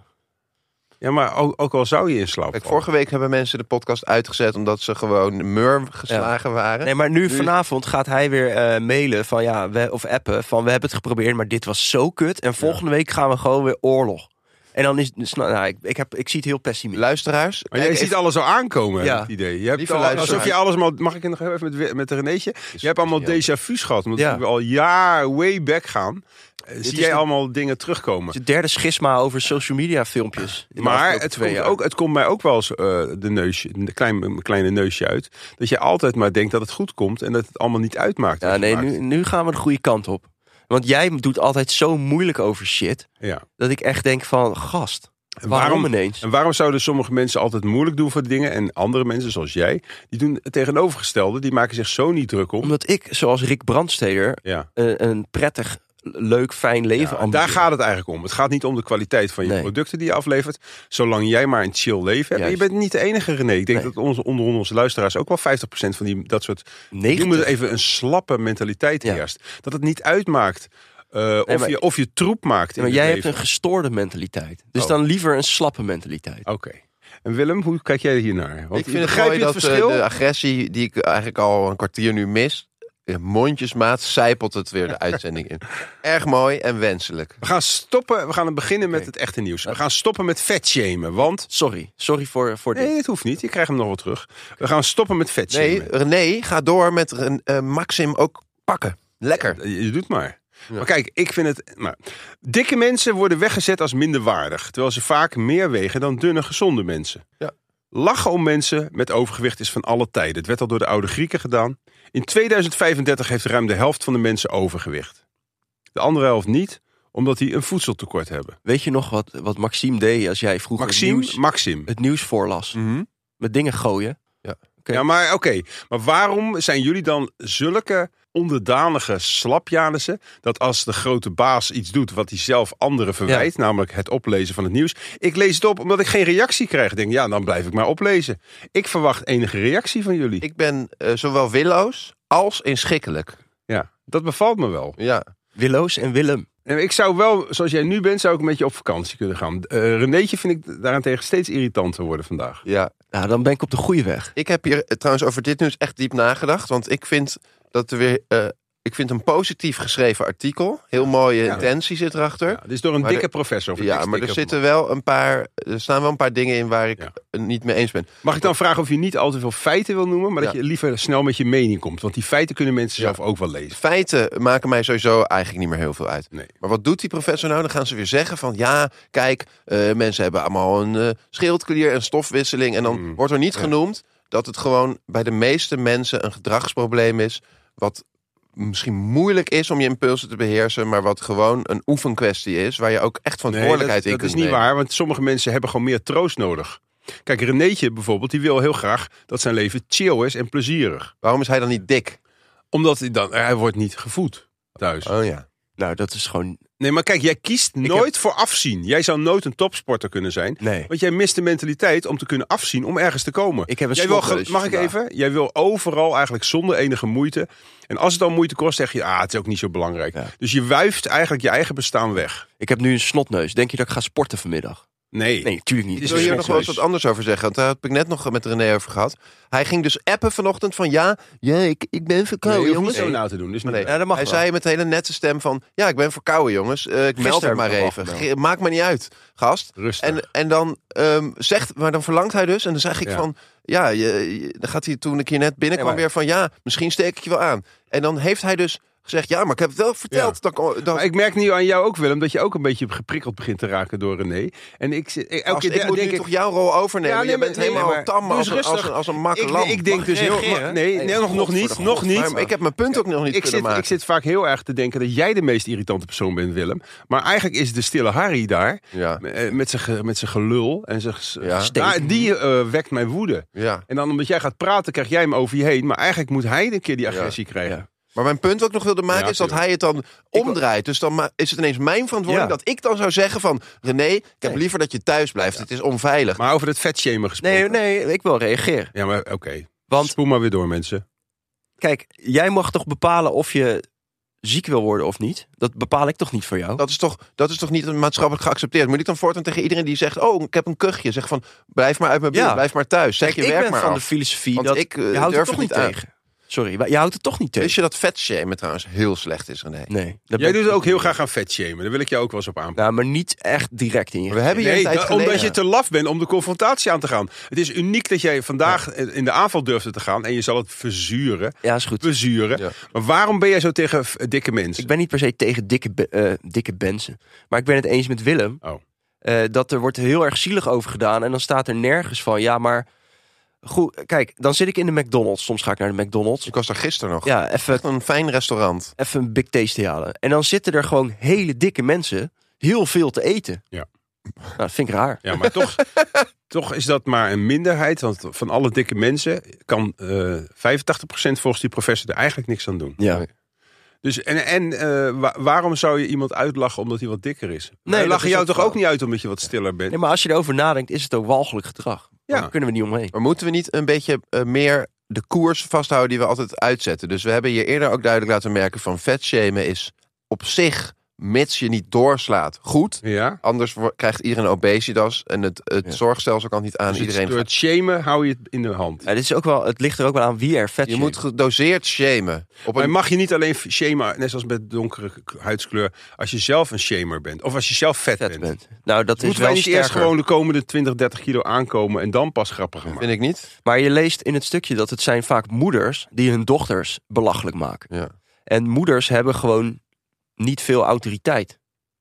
ja, maar ook, ook al zou je in slaap
Kijk,
vallen.
vorige week hebben mensen de podcast uitgezet... omdat ze gewoon mur geslagen waren.
Nee, maar nu vanavond gaat hij weer eh, mailen van ja, we, of appen van we hebben het geprobeerd, maar dit was zo kut. En volgende week gaan we gewoon weer oorlog. En dan is dus, nou, nou, ik, ik, heb, ik zie het heel pessimistisch.
Luisteraars,
Maar
kijk
jij
even-
ziet alles al aankomen,
Ja.
heb ik het idee. Je hebt
Lieve
al,
luisteraars.
alsof je alles... maar- Mag ik het nog heel even met, met Renéetje? Je hebt allemaal déjà vu's gehad. Omdat
Ja.
we al jaar way back gaan. Eh, Zie
is
jij
de-
allemaal dingen terugkomen.
Het derde schisma over social media filmpjes. in de
Maar
afgelopen
het
twee
komt,
jaar.
ook, het komt mij ook wel eens eh, de neusje, een klein, een kleine neusje uit. Dat je altijd maar denkt dat het goed komt en dat het allemaal niet uitmaakt. wat
Ja,
je
nee,
maakt.
nu, nu gaan we de goede kant op. Want jij doet altijd zo moeilijk over shit.
Ja.
Dat ik echt denk van, gast,
En
waarom,
waarom-
ineens?
En waarom zouden sommige mensen altijd moeilijk doen voor dingen en andere mensen zoals jij, die doen het tegenovergestelde, die maken zich zo niet druk om.
Omdat ik, zoals Rick Brandsteder,
Ja.
een, een prettig, leuk, fijn
Ja,
leven
en daar gaat het eigenlijk om. Het gaat niet om de kwaliteit van je
Nee.
producten die je aflevert, zolang jij maar een chill leven hebt. En je
Juist.
bent niet de enige René. Ik denk
Nee.
dat onze, onder onze luisteraars ook wel 50% van die, dat soort, ik noem het even een slappe mentaliteit
Ja.
heerst. Dat het niet uitmaakt eh, of,
maar-
je, of je troep maakt in
maar
het
jij hebt
leven.
een gestoorde mentaliteit. Dus
Oh.
dan liever een slappe mentaliteit.
Oké. En Willem, hoe kijk jij hiernaar? Want
ik vind het
begrijp
mooi
je
dat
het
eh,
verschil?
de agressie die ik eigenlijk al een kwartier nu mis... eh, mondjesmaat zijpelt het weer de uitzending in. Erg mooi en wenselijk.
We gaan stoppen. We gaan beginnen met
Oké.
het echte nieuws. We gaan stoppen met vetshamen, want...
Sorry, sorry voor, voor
Nee,
dit.
het hoeft niet. Je krijgt hem nog wel terug. We gaan stoppen met vetshamen.
Nee, René, ga door met Ren- eh, Maxim ook pakken. Lekker.
Eh, Je je doet maar. Maar kijk, ik vind het... Nou, dikke mensen worden weggezet als minderwaardig. Terwijl ze vaak meer wegen dan dunne, gezonde mensen.
Ja.
Lachen om mensen met overgewicht is van alle tijden. Het werd al door de oude Grieken gedaan. In 2035 heeft ruim de helft van de mensen overgewicht. De andere helft niet, Omdat die een voedseltekort hebben.
Weet je nog wat, wat Maxime deed als jij vroeger het
Maxime,
nieuws,
Maxim.
het nieuws voorlas?
Mhm.
Met dingen gooien.
Ja, maar oké. Maar waarom zijn jullie dan zulke onderdanige slapjanissen... dat als de grote baas iets doet wat hij zelf anderen verwijt... namelijk het oplezen van het nieuws... ik lees het op omdat ik geen reactie krijg. Ik denk, ja, dan blijf ik maar oplezen. Ik verwacht enige reactie van jullie.
Ik ben eh, zowel willoos als inschikkelijk.
Ja, dat bevalt me wel.
Ja.
Willoos en Willem.
En Ik zou wel, zoals jij nu bent, zou ik met je op vakantie kunnen gaan. Eh Renéetje vind ik daarentegen steeds irritanter worden vandaag.
ja.
Nou, dan ben ik op de goede weg.
Ik heb hier eh, trouwens over dit nieuws echt diep nagedacht. Want ik vind dat er weer. eh, ik vind een positief geschreven artikel. Heel mooie intentie zit erachter.
Ja, dit is door een
Maar
dikke
de-
professor.
Ja,
verdikt,
maar
dikke
er zitten wel een paar. Er staan wel een paar dingen in waar ik
Ja.
het niet mee eens ben.
Mag ik dan vragen of je niet al te veel feiten wil noemen, maar dat
Ja.
je liever snel met je mening komt? Want die feiten kunnen mensen
Ja.
zelf ook wel lezen.
Feiten maken mij sowieso eigenlijk niet meer heel veel uit.
Nee.
Maar wat doet die professor nou? Dan gaan ze weer zeggen van ja, kijk, eh, mensen hebben allemaal een eh, schildklier en stofwisseling. En dan
Mm.
wordt er niet
Ja.
genoemd dat het gewoon bij de meeste mensen een gedragsprobleem is. Wat misschien moeilijk is om je impulsen te beheersen, maar wat gewoon een oefenkwestie is. Waar je ook echt verantwoordelijkheid
dat,
in
dat is
kunt
niet
nemen.
waar, want sommige mensen hebben gewoon meer troost nodig. Kijk, Renéetje bijvoorbeeld, die wil heel graag dat zijn leven chill is en plezierig.
Waarom is hij dan niet dik?
Omdat hij dan, hij wordt niet gevoed thuis.
Oh ja.
Nou, dat is gewoon...
Nee, maar kijk, jij kiest nooit voor afzien. Jij zou nooit een topsporter kunnen zijn.
Nee.
Want jij mist de mentaliteit om te kunnen afzien om ergens te komen.
Ik heb een
jij wil,
snotneus
ge- Mag ik
vandaag.
even? Jij wil overal eigenlijk zonder enige moeite. En als het al moeite kost, zeg je, ah, het is ook niet zo belangrijk.
Ja.
Dus je wuift eigenlijk je eigen bestaan weg.
Ik heb nu een snotneus. Denk je dat ik ga sporten vanmiddag?
Nee.
Nee, natuurlijk niet.
Ik
Is
wil
een
hier nog wel eens wat
snotneus.
anders over zeggen. Want daar heb ik net nog met René over gehad. Hij ging dus appen vanochtend van ja, ja ik, ik ben
Nee,
verkouden,
je hoeft niet
jongens.
zo na te doen. Dus niet
Nee.
waar.
Ja, dat mag
hij
wel.
zei met hele nette stem van... Ja, ik ben verkouden, jongens. Eh, ik meld het
Gisteren
maar
heb ik
even.
nog
Ge- Maakt me niet uit, gast.
Rustig.
En, oh. en dan ehm, zegt... Maar dan verlangt hij dus... En dan zeg ik
Ja.
van... Ja, je, je- dan gaat hij toen ik hier net binnenkwam
Ja, maar-
weer van... Ja, misschien steek ik je wel aan. En dan heeft hij dus gezegd... Ja, maar ik heb het wel verteld. Dat, dat,
Maar ik merk nu aan jou ook, Willem, dat je ook een beetje geprikkeld begint te raken door René. En ik, zit- elke
gast,
keer
ik moet
denk
nu toch jouw rol overnemen.
Ja, nee,
je
maar-
bent
nee,
helemaal
maar-
tam
doe
als,
eens
een- als,
rustig.
een, als een mak
ik,
lam.
ik denk
Mag
dus heel...
reageren?
Nee, nee, nog, nog niet. Nog niet.
Maar ik heb mijn punt ook nog niet
ik
kunnen
zit,
maken.
ik zit vaak heel erg te denken dat jij de meest irritante persoon bent, Willem. Maar eigenlijk is de stille Harry daar,
Ja.
eh, met zijn ge- met zijn gelul en zijn... ges-
Ja.
Steek. Maar die eh, wekt mijn woede.
Ja.
En dan omdat jij gaat praten, krijg jij hem over je heen. Maar eigenlijk moet hij een keer die agressie krijgen.
Ja.
Maar mijn punt wat ik nog wilde maken
Ja,
is dat hij het dan omdraait. Dus dan ma- is het ineens mijn verantwoording
Ja.
dat ik dan zou zeggen van... René, ik heb
Nee.
liever dat je thuis blijft. Het is onveilig.
Maar over het vetshamen gesproken.
Nee, nee, ik wil reageren.
Ja, maar oké.
Want
Spoel maar weer door, mensen.
kijk, jij mag toch bepalen of je ziek wil worden of niet? Dat bepaal ik toch niet voor jou?
Dat is, toch, dat is toch niet maatschappelijk geaccepteerd? Moet ik dan voortaan tegen iedereen die zegt... oh, ik heb een kuchje. Zeg van, blijf maar uit mijn buurt,
Ja.
blijf maar thuis. Zeg je
ik
werk
ben
maar
van
af.
de filosofie
Want
dat
ik, eh,
je houdt
durf
het toch niet
het niet aan.
tegen. Sorry, maar je houdt het toch niet tegen.
Wist je dat vetshamen trouwens heel slecht is, René?
Nee, dat
Jij
ben-
doet ook heel graag aan vetshamen. Daar wil ik jou ook wel eens op aanpakken.
Nou, maar niet echt direct in je.
We hebben hier
Nee,
een tijd
da-
geleden...
omdat je te laf bent om de confrontatie aan te gaan. Het is uniek dat jij vandaag eh, in de aanval durfde te gaan. En je zal het verzuren.
Ja, is goed.
Bezuren.
Ja.
Maar waarom ben jij zo tegen f- dikke mensen?
Ik ben niet per se tegen dikke, be- eh, dikke mensen. Maar ik ben het eens met Willem.
Oh.
eh, dat er wordt heel erg zielig over gedaan. En dan staat er nergens van. Ja, maar goed. Kijk, dan zit ik in de McDonald's. Soms ga ik naar de McDonald's.
Ik was daar gisteren nog.
Ja, even,
Echt een fijn restaurant.
even een big taste halen. En dan zitten er gewoon hele dikke mensen. Heel veel te eten.
Ja.
Nou, dat vind ik raar.
Ja, maar toch, toch is dat maar een minderheid. Want van alle dikke mensen kan eh 85% volgens die professor er eigenlijk niks aan doen.
Ja.
Nee.
Dus en, en eh, wa- waarom zou je iemand uitlachen omdat hij wat dikker is?
Nee,
Nee,
dat
lachen
is
jou
ook
toch
waar.
ook niet uit omdat je wat stiller bent?
Nee, maar als je erover nadenkt, is het ook walgelijk gedrag.
Ja.
Daar kunnen we niet omheen.
Maar moeten we niet een beetje eh, meer de koers vasthouden die we altijd uitzetten? Dus we hebben hier eerder ook duidelijk laten merken van vetshamen is op zich, mits je niet doorslaat, goed.
Ja?
Anders wo- krijgt iedereen obesitas en het, het
Ja.
zorgstelsel kan het niet aan.
Dus het-
iedereen
door
gaat-
het shamen hou je het in de hand.
Ja, dit is ook wel, het ligt er ook wel aan wie er vet
Je moet gedoseerd shamen. Op
Maar
een,
mag je niet alleen shamen, net zoals met donkere k- huidskleur, als je zelf een shamer bent. Of als je zelf vet,
vet
bent.
bent. Nou, dat is
Moeten wij
wel
niet eerst
sterker.
gewoon de komende 20, 30 kilo aankomen en dan pas grappig gaan maken?
vind ik niet.
Maar je leest in het stukje dat het zijn vaak moeders die hun dochters belachelijk maken.
Ja.
En moeders hebben gewoon niet veel autoriteit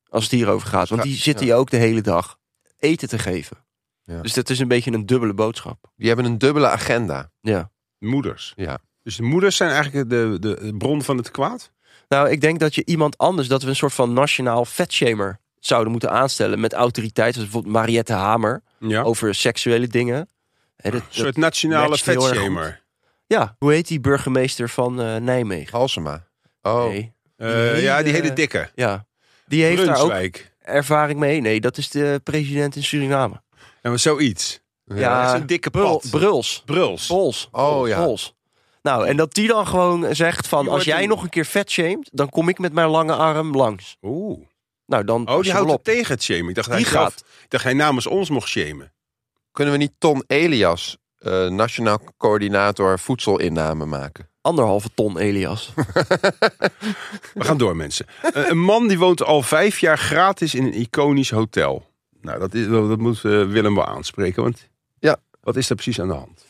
als het hierover gaat. Want die
Ja.
zitten je ook de hele dag eten te geven.
Ja.
Dus dat is een beetje een dubbele boodschap.
Die hebben een dubbele agenda.
Ja.
Moeders.
Ja.
Dus de moeders zijn eigenlijk de, de, de bron van het kwaad?
Nou, ik denk dat je iemand anders, dat we een soort van nationaal vetshamer zouden moeten aanstellen met autoriteit. Zoals bijvoorbeeld Mariette Hamer
Ja.
over seksuele dingen. Hè, dat-
Een
dat-
soort nationale
matcht heel erg
vetshamer.
ja, hoe heet die burgemeester van eh, Nijmegen?
Halsema. Oh,
Nee.
Eh, ja, die hele
hele-
dikke.
Ja, die heeft daar ook
Brunswijk.
ervaring mee. Nee, dat is de president in Suriname.
En maar zoiets.
Ja,
Zo'n dikke
Brul,
pad.
Bruls.
Bruls.
Pols.
Oh, ja.
Pols. Nou, en dat die dan gewoon zegt van...
Die
als
wordt
jij
een-
nog een keer vet shamed... dan kom ik met mijn lange arm langs.
Oeh.
Nou, dan
Oh,
pas
die
je
houdt
wel
het
op.
tegen het shamen. Ik dacht, hij
Die
gaf-
gaat.
ik dacht hij namens ons mocht shamen.
kunnen we niet Ton Elias, eh, nationaal coördinator voedselinname maken?
Anderhalve ton, Elias.
We gaan door, mensen. Eh, een man die woont al vijf jaar gratis in een iconisch hotel. Nou, dat, is, dat moet eh, Willem wel aanspreken. Want
Ja.
wat is er precies aan de hand?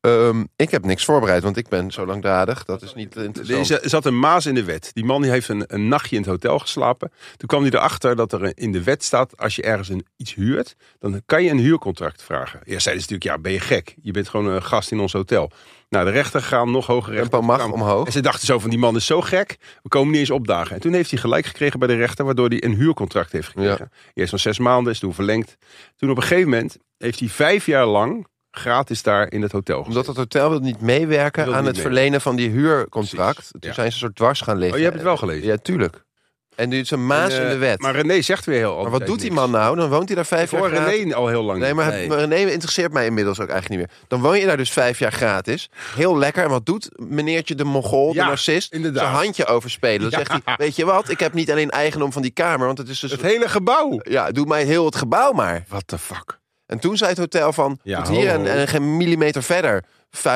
Ehm, ik heb niks voorbereid, want ik ben zo langdradig. Dat is niet
Er
interessant.
is- er zat een maas in de wet. Die man die heeft een, een nachtje in het hotel geslapen. Toen kwam hij erachter dat er een- in de wet staat... als je ergens een, iets huurt, dan kan je een huurcontract vragen. Eerst zeiden ze natuurlijk, ja, ben je gek? Je bent gewoon een gast in ons hotel. Nou, de rechter gaan nog hoger rechter.
Tempo mag
gaan.
omhoog.
En ze dachten zo van, die man is zo gek, we komen niet eens opdagen. En toen heeft hij gelijk gekregen bij de rechter, waardoor hij een huurcontract heeft gekregen. Eerst van zes maanden, is toen verlengd. Toen op een gegeven moment heeft hij vijf jaar lang gratis daar in het hotel gezeten.
Omdat het hotel wil niet meewerken
Wil
aan
niet
het
mee.
verlenen van die huurcontract.
Precies,
Toen
ja.
zijn ze een soort dwars gaan liggen.
Oh, je hebt het wel gelezen?
Ja, tuurlijk. En nu is een maas
En, eh,
in de wet.
Maar
Maar,
René zegt weer heel
wat doet die man nou? Dan woont hij daar vijf
Ik hoor
jaar gratis.
René al heel lang
Nee,
niet.
maar,
Nee.
maar René interesseert mij inmiddels ook eigenlijk niet meer. Dan woon je daar dus vijf jaar gratis. Heel lekker. En wat doet meneertje de Mongool, de
Ja,
narcist?
inderdaad.
Zijn handje overspelen. Dan zegt hij, weet je wat? Ik heb niet alleen eigendom van die kamer. Want het is dus...
Het hele gebouw.
Ja, doe mij heel het gebouw maar.
What the fuck?
En toen zei het hotel van,
Ja,
tot hier
ho, ho.
en, en geen millimeter verder.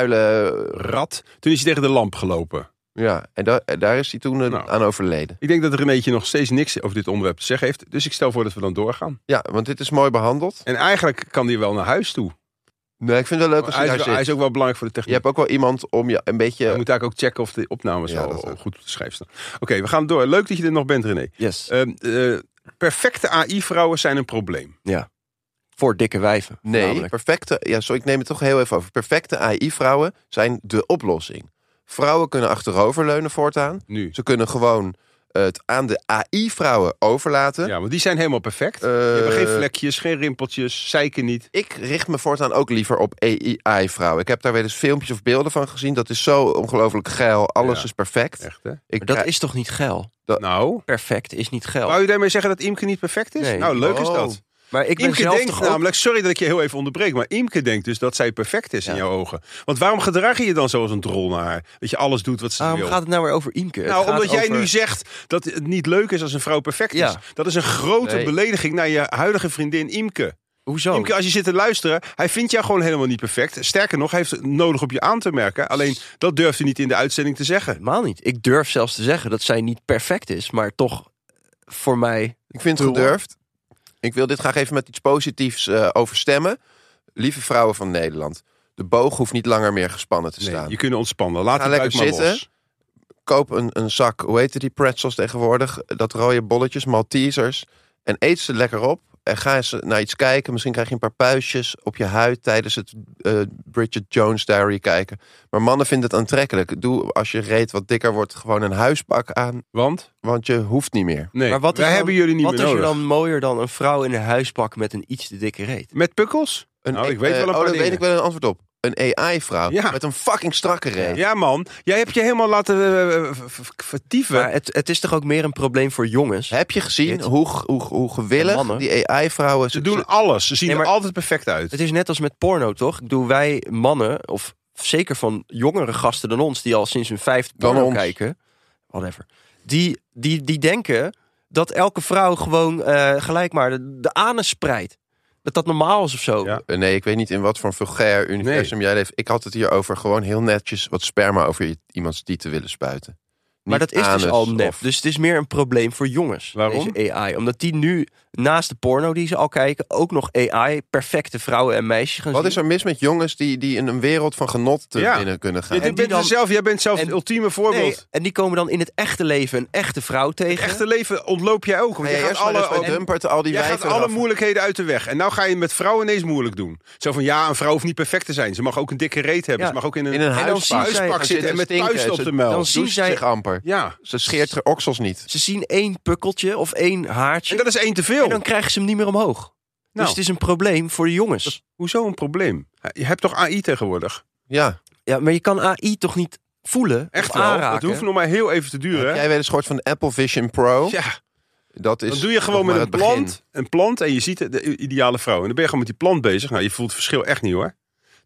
Vuile...
Rat. Toen is hij tegen de lamp gelopen.
Ja, en da- en daar is hij toen eh,
Nou.
aan overleden.
Ik denk dat Renéetje nog steeds niks over dit onderwerp te zeggen heeft. Dus ik stel voor dat we dan doorgaan.
Ja, want dit is mooi behandeld.
En eigenlijk kan hij wel naar huis toe.
Nee, ik vind het wel leuk
Maar
als
Hij
hij
is,
daar
wel-
zit.
hij is ook wel belangrijk voor de
Je
techniek.
hebt ook wel iemand om je een
Je
beetje...
moet eigenlijk ook checken of de opnames
Ja,
al
dat ook.
goed op de schijf staan. Oké, we gaan door. Leuk dat je er nog bent, René.
Yes.
Ehm, eh, perfecte AI-vrouwen zijn een probleem.
Voor dikke wijven.
Nee,
namelijk.
perfecte. Ja, sorry, ik neem het toch heel even over. Perfecte AI-vrouwen zijn de oplossing. Vrouwen kunnen achteroverleunen voortaan.
Nu.
Ze kunnen gewoon eh, het aan de AI-vrouwen overlaten.
Ja, want die zijn helemaal perfect. Die
Eh,
hebben geen vlekjes, geen rimpeltjes, zeiken niet.
Ik richt me voortaan ook liever op AI-vrouwen. Ik heb daar weer eens filmpjes of beelden van gezien. Dat is zo ongelooflijk geil. Alles
Ja.
is perfect.
Echt, hè?
Ik
Maar dat
krijg-
is toch niet geil?
Nou,
Perfect is niet geil.
wou je daarmee zeggen dat Imke niet perfect is?
Nee.
Nou, leuk is
Oh.
dat.
Maar ik ben
Imke
zelf
denkt
toch ook-
namelijk, sorry dat ik je heel even onderbreek, maar Imke denkt dus dat zij perfect is in
Ja.
jouw ogen. Want waarom gedraag je je dan zo als een drol naar haar? Dat je alles doet wat ze
Waarom
wil.
gaat het nou weer over Imke? Het
nou,
gaat
omdat jij
over-
nu zegt dat het niet leuk is als een vrouw perfect is.
Ja.
Dat is een grote
Nee.
belediging naar je huidige vriendin Imke.
Hoezo?
Imke, als je zit te luisteren, hij vindt jou gewoon helemaal niet perfect. Sterker nog, hij heeft het nodig op je aan te merken. Alleen, dat durft hij niet in de uitzending te zeggen.
Helemaal niet. Ik durf zelfs te zeggen dat zij niet perfect is, maar toch eh, voor mij...
Ik vind het gedurfd. Ik wil dit graag even met iets positiefs eh, overstemmen. Lieve vrouwen van Nederland. De boog hoeft niet langer meer gespannen te
Nee,
staan.
je kunt ontspannen. Laat
Ga
het
lekker
buik maar
zitten.
los.
koop een, een zak, hoe heet die pretzels tegenwoordig? Eh, Dat rode bolletjes, Maltesers. En eet ze lekker op. En ga eens naar iets kijken. Misschien krijg je een paar puistjes op je huid tijdens het eh, Bridget Jones Diary kijken. Maar mannen vinden het aantrekkelijk. Doe als je reet wat dikker wordt gewoon een huispak aan.
Want?
Want je hoeft niet meer.
Nee,
Maar wat is
wij
dan-
hebben jullie niet
Wat
meer
is er
nodig.
dan mooier dan een vrouw in een huispak met een iets te dikke reet?
Met pukkels?
Een,
Nou, ik
eh,
weet wel een
oh,
paar
daar
dingen.
weet ik wel een antwoord op. Een AI-vrouw
Ja.
met een fucking strakke reet.
Ja, man. Jij hebt je helemaal laten eh, v- v- vertieven.
Maar het, het is toch ook meer een probleem voor jongens?
Heb je gezien
Dit-
hoe, hoe, hoe gewillig
En mannen.
die AI-vrouwen...
ze doen alles. Ze zien
Nee, maar-
er altijd perfect uit.
Het is net als met porno, toch? Ik bedoel, wij mannen, of zeker van jongere gasten dan ons, die al sinds hun vijfde
Dan
porno
ons.
kijken, whatever, die, die, die denken dat elke vrouw gewoon eh, gelijk maar de, de anus spreidt. Dat dat normaal is of zo.
Ja.
Eh, Nee, ik weet niet in wat voor een vulgair universum jij leeft. Ik had het hier over gewoon heel netjes wat sperma over je- iemands die te willen spuiten.
Maar
Niet
dat is dus
anus
al nep.
of-
Dus het is meer een probleem voor jongens.
Waarom?
Deze AI. Omdat die nu naast de porno die ze al kijken, ook nog AI, perfecte vrouwen en meisjes gaan
Wat
zien.
is er mis met jongens die, die in een wereld van genot te
Ja.
binnen kunnen
Je
gaan?
die
bent er
dan-
zelf, jij bent zelf
en-
het ultieme voorbeeld.
Nee, en die komen dan in het echte leven een echte vrouw tegen.
Echte leven ontloop jij ook. Want
Ga je
je gaat
eerst alle, maar
alle,
eens bij Drumpert al die
jij gaat
wijven
alle
eraf.
moeilijkheden uit de weg. En nou ga je met vrouwen ineens moeilijk doen. Zo van, ja, een vrouw hoeft niet perfect te zijn. zijn. Ze mag ook een dikke reet hebben.
Ja.
Ze mag ook in een,
In een
dan
huispak,
zien zij-
huispak
Gaan
zitten en met
stinken.
puisten op
Ze
de muil.
dan-
douchen
zien zij-
zich amper. over.
Ja.
Ze scheert haar oksels niet.
Ze zien één pukkeltje of één haartje.
En
En,
dat is één te veel.
dan krijgen ze hem niet meer omhoog. Dus
Nou.
het is een probleem voor de jongens.
Hoezo een probleem? Je hebt toch AI tegenwoordig?
Ja.
Ja, maar je kan AI toch niet voelen? of
Echt wel.
aanraken?
Het hoeft nog maar heel even te duren.
Heb
hè?
jij weet een soort van Apple Vision Pro.
Ja,
Dat is
dan doe je
nog
gewoon met
maar
een
het begin.
plant, een plant en je ziet de i- ideale vrouw. En dan ben je gewoon met die plant bezig. Nou, je voelt het verschil echt niet hoor.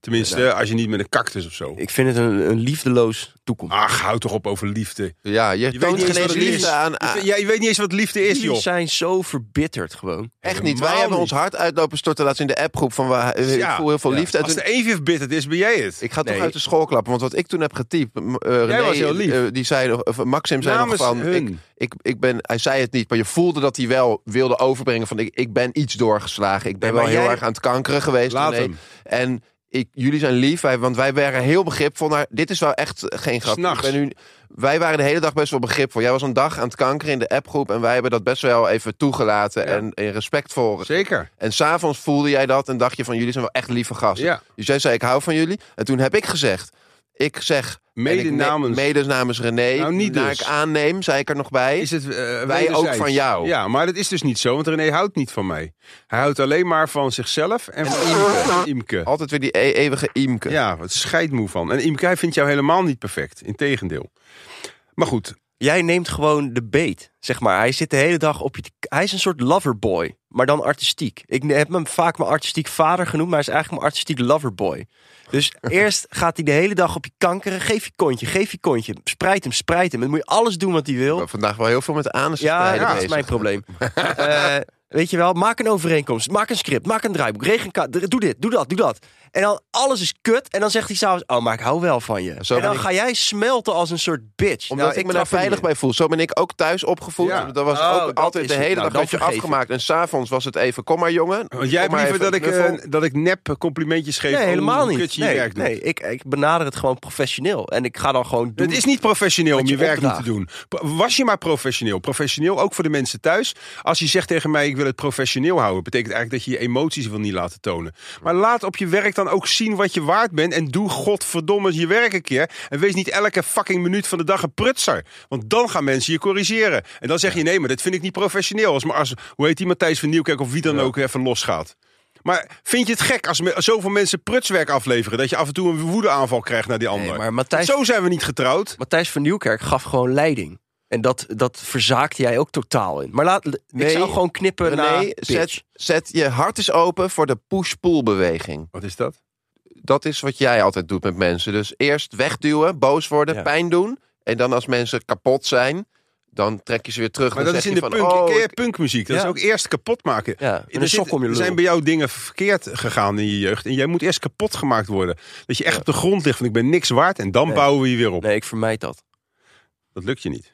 Tenminste, als je niet met een cactus of zo.
Ik vind het een, een liefdeloos toekomst.
Ach, hou toch op over liefde.
Ja, je,
Je weet
toont
niet eens
geen
wat
eens
het is.
liefde aan.
Je weet- ja, je weet niet eens wat liefde is,
Jullie
joh.
zijn zo verbitterd gewoon.
Echt niet. Wij
Helemaal
hebben
niet.
ons hart uitlopen storten laatst in de appgroep van waar, eh, ik
Ja.
voel heel veel
Ja.
liefde. En
Als
toen-
de een weer bitterd is, ben jij het.
ik ga toch
Nee.
uit de school klappen, want wat ik toen heb getypt, m- eh, René,
was heel lief.
eh, die zei nog, of Maxim zei
Namens
nog van,
hun.
ik, ik, ik ben, hij zei het niet, maar je voelde dat hij wel wilde overbrengen van, ik, ik ben iets doorgeslagen, ik ben
Nee, maar
wel heel
jij-
erg aan het kankeren geweest.
Laat
René.
hem.
En ik, jullie zijn lief, wij- want wij waren heel begripvol naar, dit is wel echt geen grap. Ik
S'nachts.
ben nu, wij waren de hele dag best wel begripvol. Jij was een dag aan het kankeren in de appgroep en wij hebben dat best wel even toegelaten en, en respectvol
Zeker.
en s'avonds voelde jij dat en dacht je van jullie zijn wel echt lieve gasten.
Ja.
Dus jij zei ik hou van jullie. En toen heb ik gezegd, ik zeg...
Mede
en ik ne-
namens-
mede namens René.
Nou, niet
naar
dus.
ik aanneem, zei ik er nog bij.
Is het, eh,
ook
wederzijds.
van jou.
Ja, maar dat is dus niet zo, want René houdt niet van mij. Hij houdt alleen maar van zichzelf en van Imke. Imke.
Altijd weer die e- eeuwige Imke.
Ja, wat scheidmoe van. En Imke, hij vindt jou helemaal niet perfect. Integendeel. Maar goed,
Jij neemt gewoon de beet, zeg maar. Hij zit de hele dag op je... te- Hij is een soort loverboy, maar dan artistiek. Ik ne- heb hem vaak mijn artistiek vader genoemd, maar hij is eigenlijk mijn artistiek loverboy. Dus eerst gaat hij de hele dag op je kankeren. Geef je kontje, geef je kontje. Spreid hem, spreid hem. En dan moet je alles doen wat hij wil.
Maar Vandaag wel heel veel met anus
Ja,
strijden
dat is
bezig.
mijn probleem. Eh, weet je wel, maak een overeenkomst, maak een script, maak een draaiboek, regen, ka- d- doe dit, doe dat, doe dat. En dan alles is kut en dan zegt hij s'avonds, oh maar ik hou wel van je.
Zo
en
ben
dan
ik-
ga jij smelten als een soort bitch.
Omdat
Nou,
ik me daar
trap er
veilig
niet in.
bij voel. Zo ben ik ook thuis opgevoed.
Ja.
Dat was
Oh,
ook
dat
altijd
is
de
het.
hele
Nou,
dag
dan
dat je
vergeef ik.
afgemaakt. En s'avonds was het even, kom maar jongen.
want Oh, jij hebt
maar
liever
even
dat ik,
een knuffel.
eh, dat ik nep complimentjes geef.
Nee,
over
helemaal
hoe
niet.
kut je je
Nee,
werk doet.
nee ik, ik benader het gewoon professioneel. En ik ga dan gewoon doen.
Het is niet professioneel om
Wat
je,
je
werk niet te
opdraagt.
doen. Pro- Was je maar professioneel. Professioneel ook voor de mensen thuis. Als je zegt tegen mij, ik wil het professioneel houden... betekent eigenlijk dat je je emoties wil niet laten tonen. Maar laat op je werk dan ook zien wat je waard bent... en doe godverdomme je werk een keer. En wees niet elke fucking minuut van de dag een prutser. Want dan gaan mensen je corrigeren. En dan zeg je, nee, maar dat vind ik niet professioneel. Als, maar als, hoe heet die Matthijs van Nieuwkerk of wie dan ook even losgaat. Maar vind je het gek als me- als zoveel mensen prutswerk afleveren... dat je af en toe een woedeaanval krijgt naar die ander?
Nee, maar Matthijs-
Zo zijn we niet getrouwd.
Matthijs van Nieuwkerk gaf gewoon leiding. En dat, dat verzaakte jij ook totaal in. Maar laat,
Nee,
ik zou gewoon knippen naar
René,
bitch.
zet, zet je hart is open voor de push-pull beweging.
Wat is dat?
dat is wat jij altijd doet met mensen. Dus eerst wegduwen, boos worden,
Ja.
pijn doen. En dan als mensen kapot zijn, dan trek je ze weer terug.
Maar
Dan
dat is in
zeg
de
je
punk,
van, oh,
ken je
ik-
punkmuziek. Dat
Ja.
is ook eerst kapot maken.
Ja, met
Er
een
zit-
sok om je
er
lul.
zijn bij jou dingen verkeerd gegaan in je jeugd. En jij moet eerst kapot gemaakt worden. Dat je echt op de grond ligt van ik ben niks waard. En dan
Nee.
bouwen we je weer op.
Nee, ik vermijd dat.
Dat lukt je niet.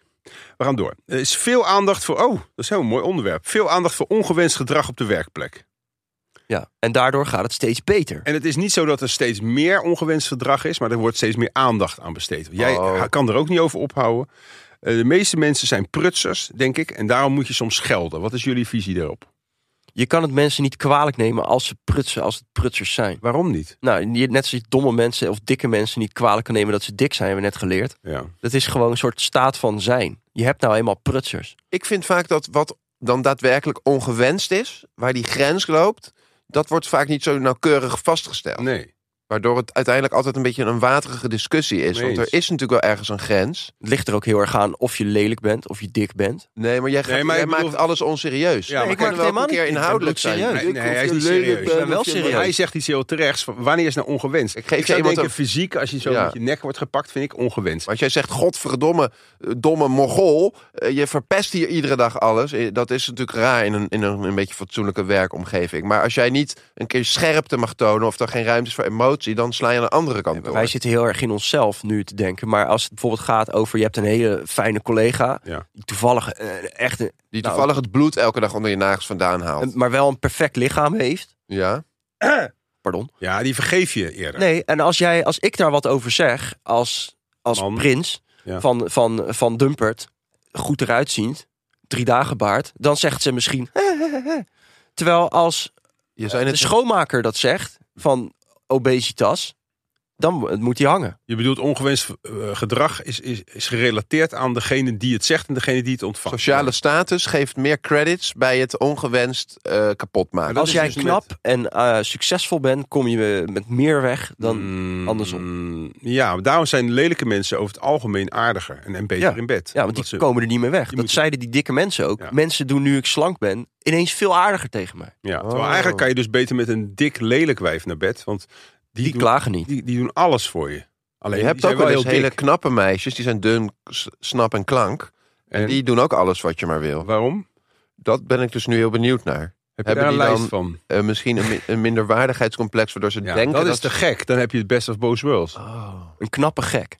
We gaan door. Er is veel aandacht voor... Oh, dat is heel een mooi onderwerp. Veel aandacht voor ongewenst gedrag op de werkplek.
Ja. En daardoor gaat het steeds beter.
En het is niet zo dat er steeds meer ongewenst gedrag is, maar er wordt steeds meer aandacht aan besteed. Jij
Oh.
kan er ook niet over ophouden. Eh, De meeste mensen zijn prutsers, denk ik, en daarom moet je soms schelden. Wat is jullie visie daarop?
Je kan het mensen niet kwalijk nemen als ze prutsen, als het prutsers zijn.
Waarom niet?
Nou, je- net zoals je domme mensen of dikke mensen niet kwalijk kan nemen dat ze dik zijn, hebben we net geleerd.
Ja.
Dat is gewoon een soort staat van zijn. Je hebt nou eenmaal prutsers.
Ik vind vaak dat wat dan daadwerkelijk ongewenst is, waar die grens loopt, dat wordt vaak niet zo nauwkeurig vastgesteld.
Nee.
Waardoor het uiteindelijk altijd een beetje een waterige discussie is.
Mee
Want er
eens.
is natuurlijk wel ergens een grens.
Het ligt er ook heel erg aan of je lelijk bent of je dik bent.
Nee, maar jij, gaat,
Nee, maar
jij
ik bedoel-
maakt alles onserieus.
Ja, maar
we
ik
kunnen
maak het
wel
helemaal
een keer
niet- ik ben
inhoudelijk
bloedserieus.
zijn.
Nee,
Ik
nee,
hoef
hij
je
is niet
lelijk
serieus.
bent
Ik ben wel
of je-
serieus.
Hij zegt iets heel terechts. van, Wanneer is nou ongewenst?
Ik geef je
zou
iemand
denken,
een-
fysiek, als je zo
Ja.
met je nek wordt gepakt, vind ik ongewenst.
Maar als jij zegt, godverdomme, eh, domme mogol, eh, je verpest hier iedere dag alles. Eh, Dat is natuurlijk raar in een, in een, een beetje fatsoenlijke werkomgeving. Maar als jij niet een keer scherpte mag tonen of er geen ruimte is voor emotie, dan sla je aan de andere kant door.
Wij zitten heel erg in onszelf nu te denken. Maar als het bijvoorbeeld gaat over je hebt een hele fijne collega.
Ja.
Die toevallig eh, echt een,
Die
nou,
toevallig het bloed elke dag onder je nagels vandaan haalt.
een- maar wel een perfect lichaam heeft.
Ja,
Pardon.
Ja, die vergeef je eerder.
Nee, en als, jij, als ik daar wat over zeg, als, als
Man.
prins
Ja.
van, van, van Dumpert, goed eruit ziend, drie dagen baard, dan zegt ze misschien. Terwijl als
je zijn
de
het.
schoonmaker dat zegt van obesitas, dan moet hij hangen.
Je bedoelt ongewenst eh, gedrag is, is, is gerelateerd aan degene die het zegt en degene die het ontvangt.
Sociale status geeft meer credits bij het ongewenst eh kapot maken.
dat
Als
is
jij
dus met-
knap en eh, succesvol bent, kom je eh, met meer weg dan
Mm,
andersom.
Ja, maar daarom zijn lelijke mensen over het algemeen aardiger en, en beter
Ja.
in bed.
Ja, want
Omdat
die
ze-
komen er niet meer weg.
je
Dat
moet-
zeiden die dikke mensen ook.
Ja.
Mensen doen nu ik slank ben ineens veel aardiger tegen mij.
ja, terwijl
Oh.
eigenlijk kan je dus beter met een dik lelijk wijf naar bed, want die,
Die,
doen,
klagen niet.
die, die doen alles voor je. Alleen
je
die
hebt
zijn
ook wel eens
heel
hele
dik.
knappe meisjes, die zijn dun, s- snap en klank. En
En
die doen ook alles wat je maar wil.
waarom?
Dat ben ik dus nu heel benieuwd naar.
Heb je
Hebben
daar een
die
lijst
dan-
van?
Eh, misschien een, mi- een minderwaardigheidscomplex waardoor ze
Ja,
denken
dat
dat,
is te gek. Dan heb je het best of both worlds.
Een knappe gek.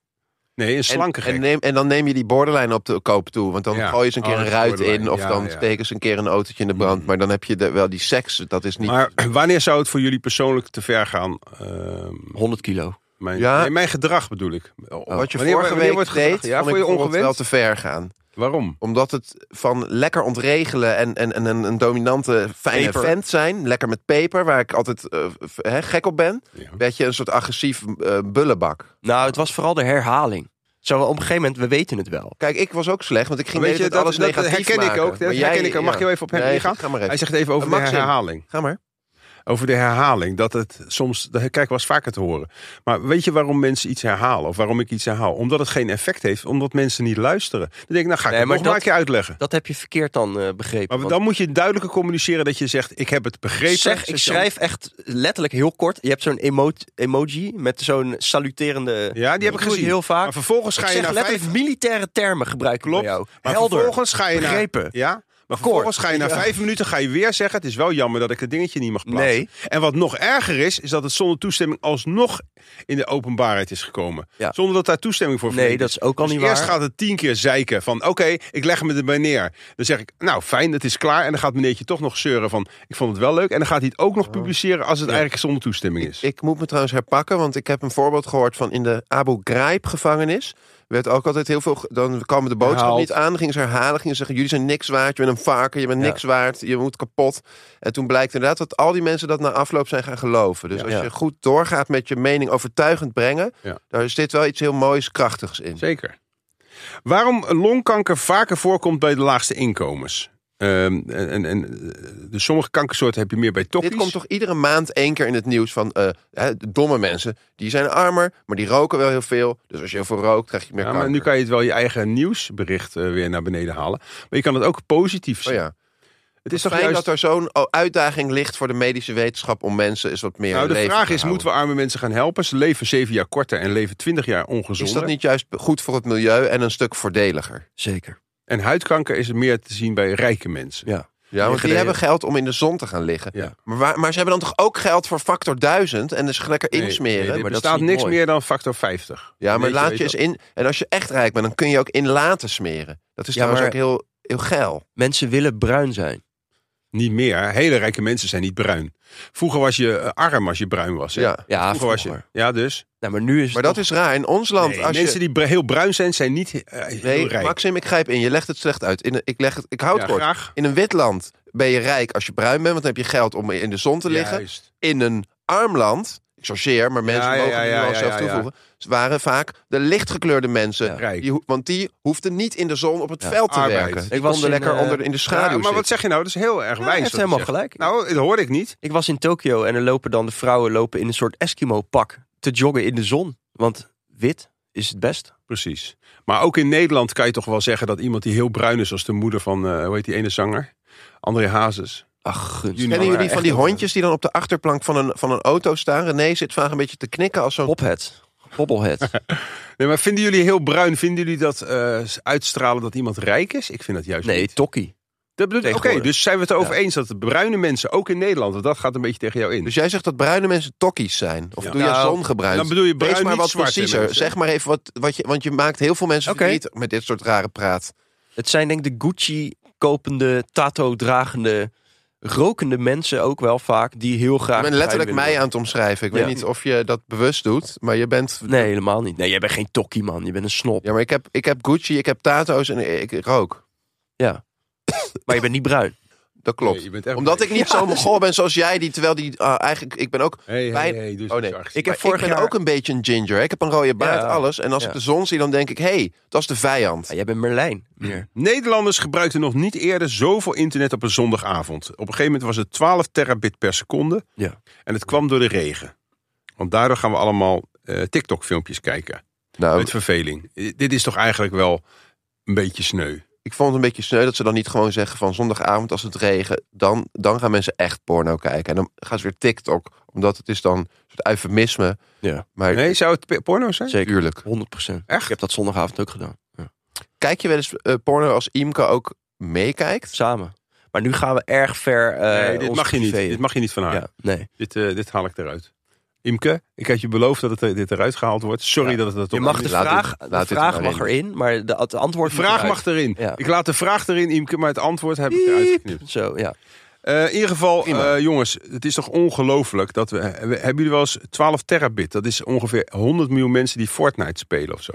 Nee, een
En,
slanke gek.
en, neem, en dan neem je die borderline op de koop toe. Want dan
Ja.
gooi je ze een keer
Oh,
een
dat
ruit
is borderline.
in. Of
Ja,
dan
ja.
steken ze een keer een autootje in de brand. Maar dan heb je de- wel die seks. Dat is niet...
Maar wanneer zou het voor jullie persoonlijk te ver gaan? Ehm,
100 kilo.
mijn,
Ja.
nee, mijn gedrag bedoel ik.
wat je
Wanneer-
vorige
wanneer
week
wordt
deed,
gedrag- ja, voor
vond ik
je
bijvoorbeeld
ongewenst.
wel te ver gaan.
Waarom?
Omdat het van lekker ontregelen en, en, en een, een dominante fijne
Peper.
vent zijn. Lekker met peper, waar ik altijd eh, f- hè, gek op ben.
Ja.
Werd je een soort agressief eh, bullenbak.
Nou, het was vooral de herhaling. Zo, op een gegeven moment, we weten het wel.
Kijk, ik was ook slecht, want ik ging
Weet
de
je,
hele tijd
dat,
alles
dat
negatief
herken ik
maken.
ook. Dat
Maar
herken
jij-
ik ook. Mag
ja.
je wel even op hem
Nee,
ingaan?
Ga maar
Hij
even.
zegt even over de
Maxim.
herhaling.
Ga maar.
Over de herhaling. Dat het soms, dat- kijk, was vaker te horen. Maar weet je waarom mensen iets herhalen? Of waarom ik iets herhaal? Omdat het geen effect heeft. Omdat mensen niet luisteren. Dan denk ik, nou ga ik
Nee,
het
maar
nog maar een
dat-
keer uitleggen.
Dat heb je verkeerd dan eh, begrepen.
Maar
Want
dan moet je duidelijker communiceren dat je zegt, ik heb het begrepen.
zeg, ik
Zegt
schrijf echt letterlijk heel kort. Je hebt zo'n emo- emoji met zo'n saluterende...
dan- Ja, die heb ik
Dat doe
gezien.
heel vaak.
Maar vervolgens
Ik
ga je
zeg
naar
letterlijk
vijf...
militaire termen gebruiken
Klopt.
bij jou.
Maar
Helder.
vervolgens ga je naar...
Begrepen.
Ja. Maar vervolgens
Kort.
ga je na
Ja.
vijf minuten ga je weer zeggen... het is wel jammer dat ik het dingetje niet mag plaatsen.
Nee.
En wat nog erger is, is dat het zonder toestemming... alsnog in de openbaarheid is gekomen.
Ja.
Zonder dat daar toestemming voor
Nee,
verleend
dat is ook al
Dus
niet
eerst
waar.
gaat het tien keer zeiken van... oké, ik leg me erbij neer. Dan zeg ik, nou fijn, het is klaar. En dan gaat meneertje toch nog zeuren van... ik vond het wel leuk. En dan gaat hij het ook
Oh.
nog publiceren... als het eigenlijk zonder toestemming is.
Ik moet me trouwens herpakken, want ik heb een voorbeeld gehoord van in de Abu Ghraib gevangenis. Werd ook altijd heel veel. ge- Dan kwam de boodschap
Herhaald.
niet aan. Gingen ze herhalen. Gingen ze zeggen: Jullie zijn niks waard. Je bent een varken. Je bent
Ja.
niks waard. Je moet kapot. En toen blijkt inderdaad dat al die mensen dat na afloop zijn gaan geloven. Dus
Ja.
als
Ja.
je goed doorgaat met je mening overtuigend brengen.
Ja.
daar zit wel iets heel moois, krachtigs in.
Zeker. Waarom longkanker vaker voorkomt bij de laagste inkomens? Ehm, en, en, en, eh, dus sommige kankersoorten heb je meer bij tokkies.
Dit komt toch iedere maand één keer in het nieuws van eh, hè, domme mensen. Die zijn armer, maar die roken wel heel veel. Dus als je heel veel rookt, krijg je meer
Ja,
kanker.
maar nu kan je het wel je eigen nieuwsbericht eh, weer naar beneden halen. Maar je kan het ook positief zien.
Oh ja.
Het is toch
Fijn
juist...
dat er zo'n o- uitdaging ligt voor de medische wetenschap om mensen eens wat meer
nou, de
leven
vraag
te
is,
houden.
moeten we arme mensen gaan helpen? Ze leven zeven jaar korter en leven twintig jaar ongezonder.
Is dat niet juist goed voor het milieu en een stuk voordeliger?
Zeker.
En huidkanker is meer te zien bij rijke mensen.
Ja.
Ja, want die
Ingereden.
hebben geld om in de zon te gaan liggen.
Ja.
Maar, waar- maar ze hebben dan toch ook geld voor factor 1000 en dus lekker
Nee,
insmeren?
nee, er
maar dat is
bestaat
niet
niks
mooi.
meer dan factor 50.
ja, maar
Weet
laat
weet
je eens in. En als je echt rijk bent, dan kun je ook in laten smeren. Dat is
Ja,
trouwens
maar-
ook heel, heel geil.
Mensen willen bruin zijn.
Niet meer. Hele rijke mensen zijn niet bruin. Vroeger was je eh, arm als je bruin was. Hè?
Ja.
Ja,
Vroeger was je. Ja, dus.
Nou, maar nu is
Maar
het
dat is raar. In ons land,
Nee,
als je,
mensen die br- heel bruin zijn, zijn niet eh, heel
Nee,
rijk.
Maxim, ik grijp in. Je legt het slecht uit. In, een- ik, leg het, ik houd
Ja,
het kort.
graag.
In een wit land ben je rijk als je bruin bent, want dan heb je geld om in de zon te liggen.
Juist.
In een arm land, ik chargeer, maar mensen
Ja, ja,
mogen
ja,
die
ja,
wel
ja,
zelf
ja, ja.
toevoegen. Ze waren vaak de lichtgekleurde mensen.
Ja.
Rijk.
Die ho- want die hoefden niet in de zon op het
Ja,
veld te
arbeid.
werken. Die
Ik was
konden
in,
lekker
eh,
onder, in de
Ja,
schaduw
maar wat
zitten.
zeg je nou? Dat is heel erg
hij
wijs.
heeft
wat je
helemaal
zegt.
gelijk.
Nou, dat hoorde ik niet.
Ik was in Tokio en er lopen dan de vrouwen lopen in een soort Eskimo-pak te joggen in de zon. Want wit is het best.
Precies. Maar ook in Nederland kan je toch wel zeggen dat iemand die heel bruin is, als de moeder van, eh, hoe heet die ene zanger? André Hazes.
Ach,
Juni-
gunstig.
Kennen
Nou,
jullie
echt
van die
over.
hondjes die dan op de achterplank van een, van een auto staan? René zit vaak een beetje te knikken als zo'n...
Pophead. Bobblehead.
Nee, maar vinden jullie heel bruin, vinden jullie dat eh, uitstralen dat iemand rijk is? Ik vind dat juist
Nee,
niet.
tokkie.
Dat bedoel ik. Oké,
tegenwoordig.
dus zijn we het erover eens dat de bruine mensen, ook in Nederland, want dat gaat een beetje tegen jou in.
Dus jij zegt dat bruine mensen tokkies zijn? Of
Ja.
doe jij
Nou,
zongebruind?
dan bedoel je bruin,
Wees maar
niet
wat
zwart, hè,
preciezer.
mensen?
Zeg maar even wat, wat je... Want je maakt heel veel mensen
Oké.
verdriet met dit soort rare praat.
Het zijn denk ik de Gucci-kopende, tato-dragende, rokende mensen ook wel vaak die heel graag...
Je bent
bruin
letterlijk
willen
mij
worden.
aan het omschrijven. Ik weet
Ja.
niet of je dat bewust doet, maar je bent...
Nee, helemaal niet. Nee, jij bent geen tokkie, man. Je bent een snop.
Ja, maar ik heb, ik heb Gucci, ik heb tato's en ik ik rook.
Maar je bent niet bruin.
dat klopt.
Nee, je bent echt
Omdat
blij.
ik niet zo'n mogol ben zoals jij, die, terwijl die ah, eigenlijk, ik ben ook.
Hey, hey,
Bij-
hey, dus
Oh,
dat is
nee.
artistiek.
Ik
Ik,
heb vorig
ik ben
jaar-
ook een beetje een ginger. hè. Ik heb een rode baard,
Ja.
alles. En als
Ja.
ik de zon zie, dan denk ik, hé, hey, dat is de vijand.
Ja, jij bent Merlijn. Meer.
Nederlanders gebruikten nog niet eerder zoveel internet op een zondagavond. Op een gegeven moment was het 12 terabit per seconde.
Ja.
En het kwam door de regen. Want daardoor gaan we allemaal eh, TikTok-filmpjes kijken.
Oh.
Nou,
Met verveling. Eh, Dit is toch eigenlijk wel een beetje sneu.
ik vond het een beetje sneu dat ze dan niet gewoon zeggen van zondagavond als het regen, dan, dan gaan mensen echt porno kijken. En dan gaan ze weer TikTok, omdat het is dan een soort eufemisme.
Ja.
Maar
Nee, zou het pe- porno zijn?
Zeker.
tuurlijk.
100%.
Echt?
Ik heb dat zondagavond ook gedaan.
Kijk je wel eens eh, porno als Imke ook meekijkt?
Samen. Maar nu gaan we erg ver. eh,
nee, dit
ons
mag je niet.
privé in.
Dit mag je niet van haar.
ja, nee.
Dit, eh, dit haal ik eruit. Imke, ik had je beloofd dat het, eh, dit eruit gehaald wordt. Sorry
Ja.
dat het er toch
Je mag
niet
de
is.
laat dit-
vraag,
laat
de
dit
vraag
maar
mag
in.
erin, maar de, het antwoord
De vraag
moet
mag erin.
Ja.
Ik laat de vraag erin, Imke, maar het antwoord heb ik eruit
eruit.
geknipt.
Zo, ja.
Eh, in ieder geval,
Prima.
eh, jongens, het is toch ongelooflijk dat we, we- Hebben jullie wel eens 12 terabit? Dat is ongeveer 100 miljoen mensen die Fortnite spelen of zo.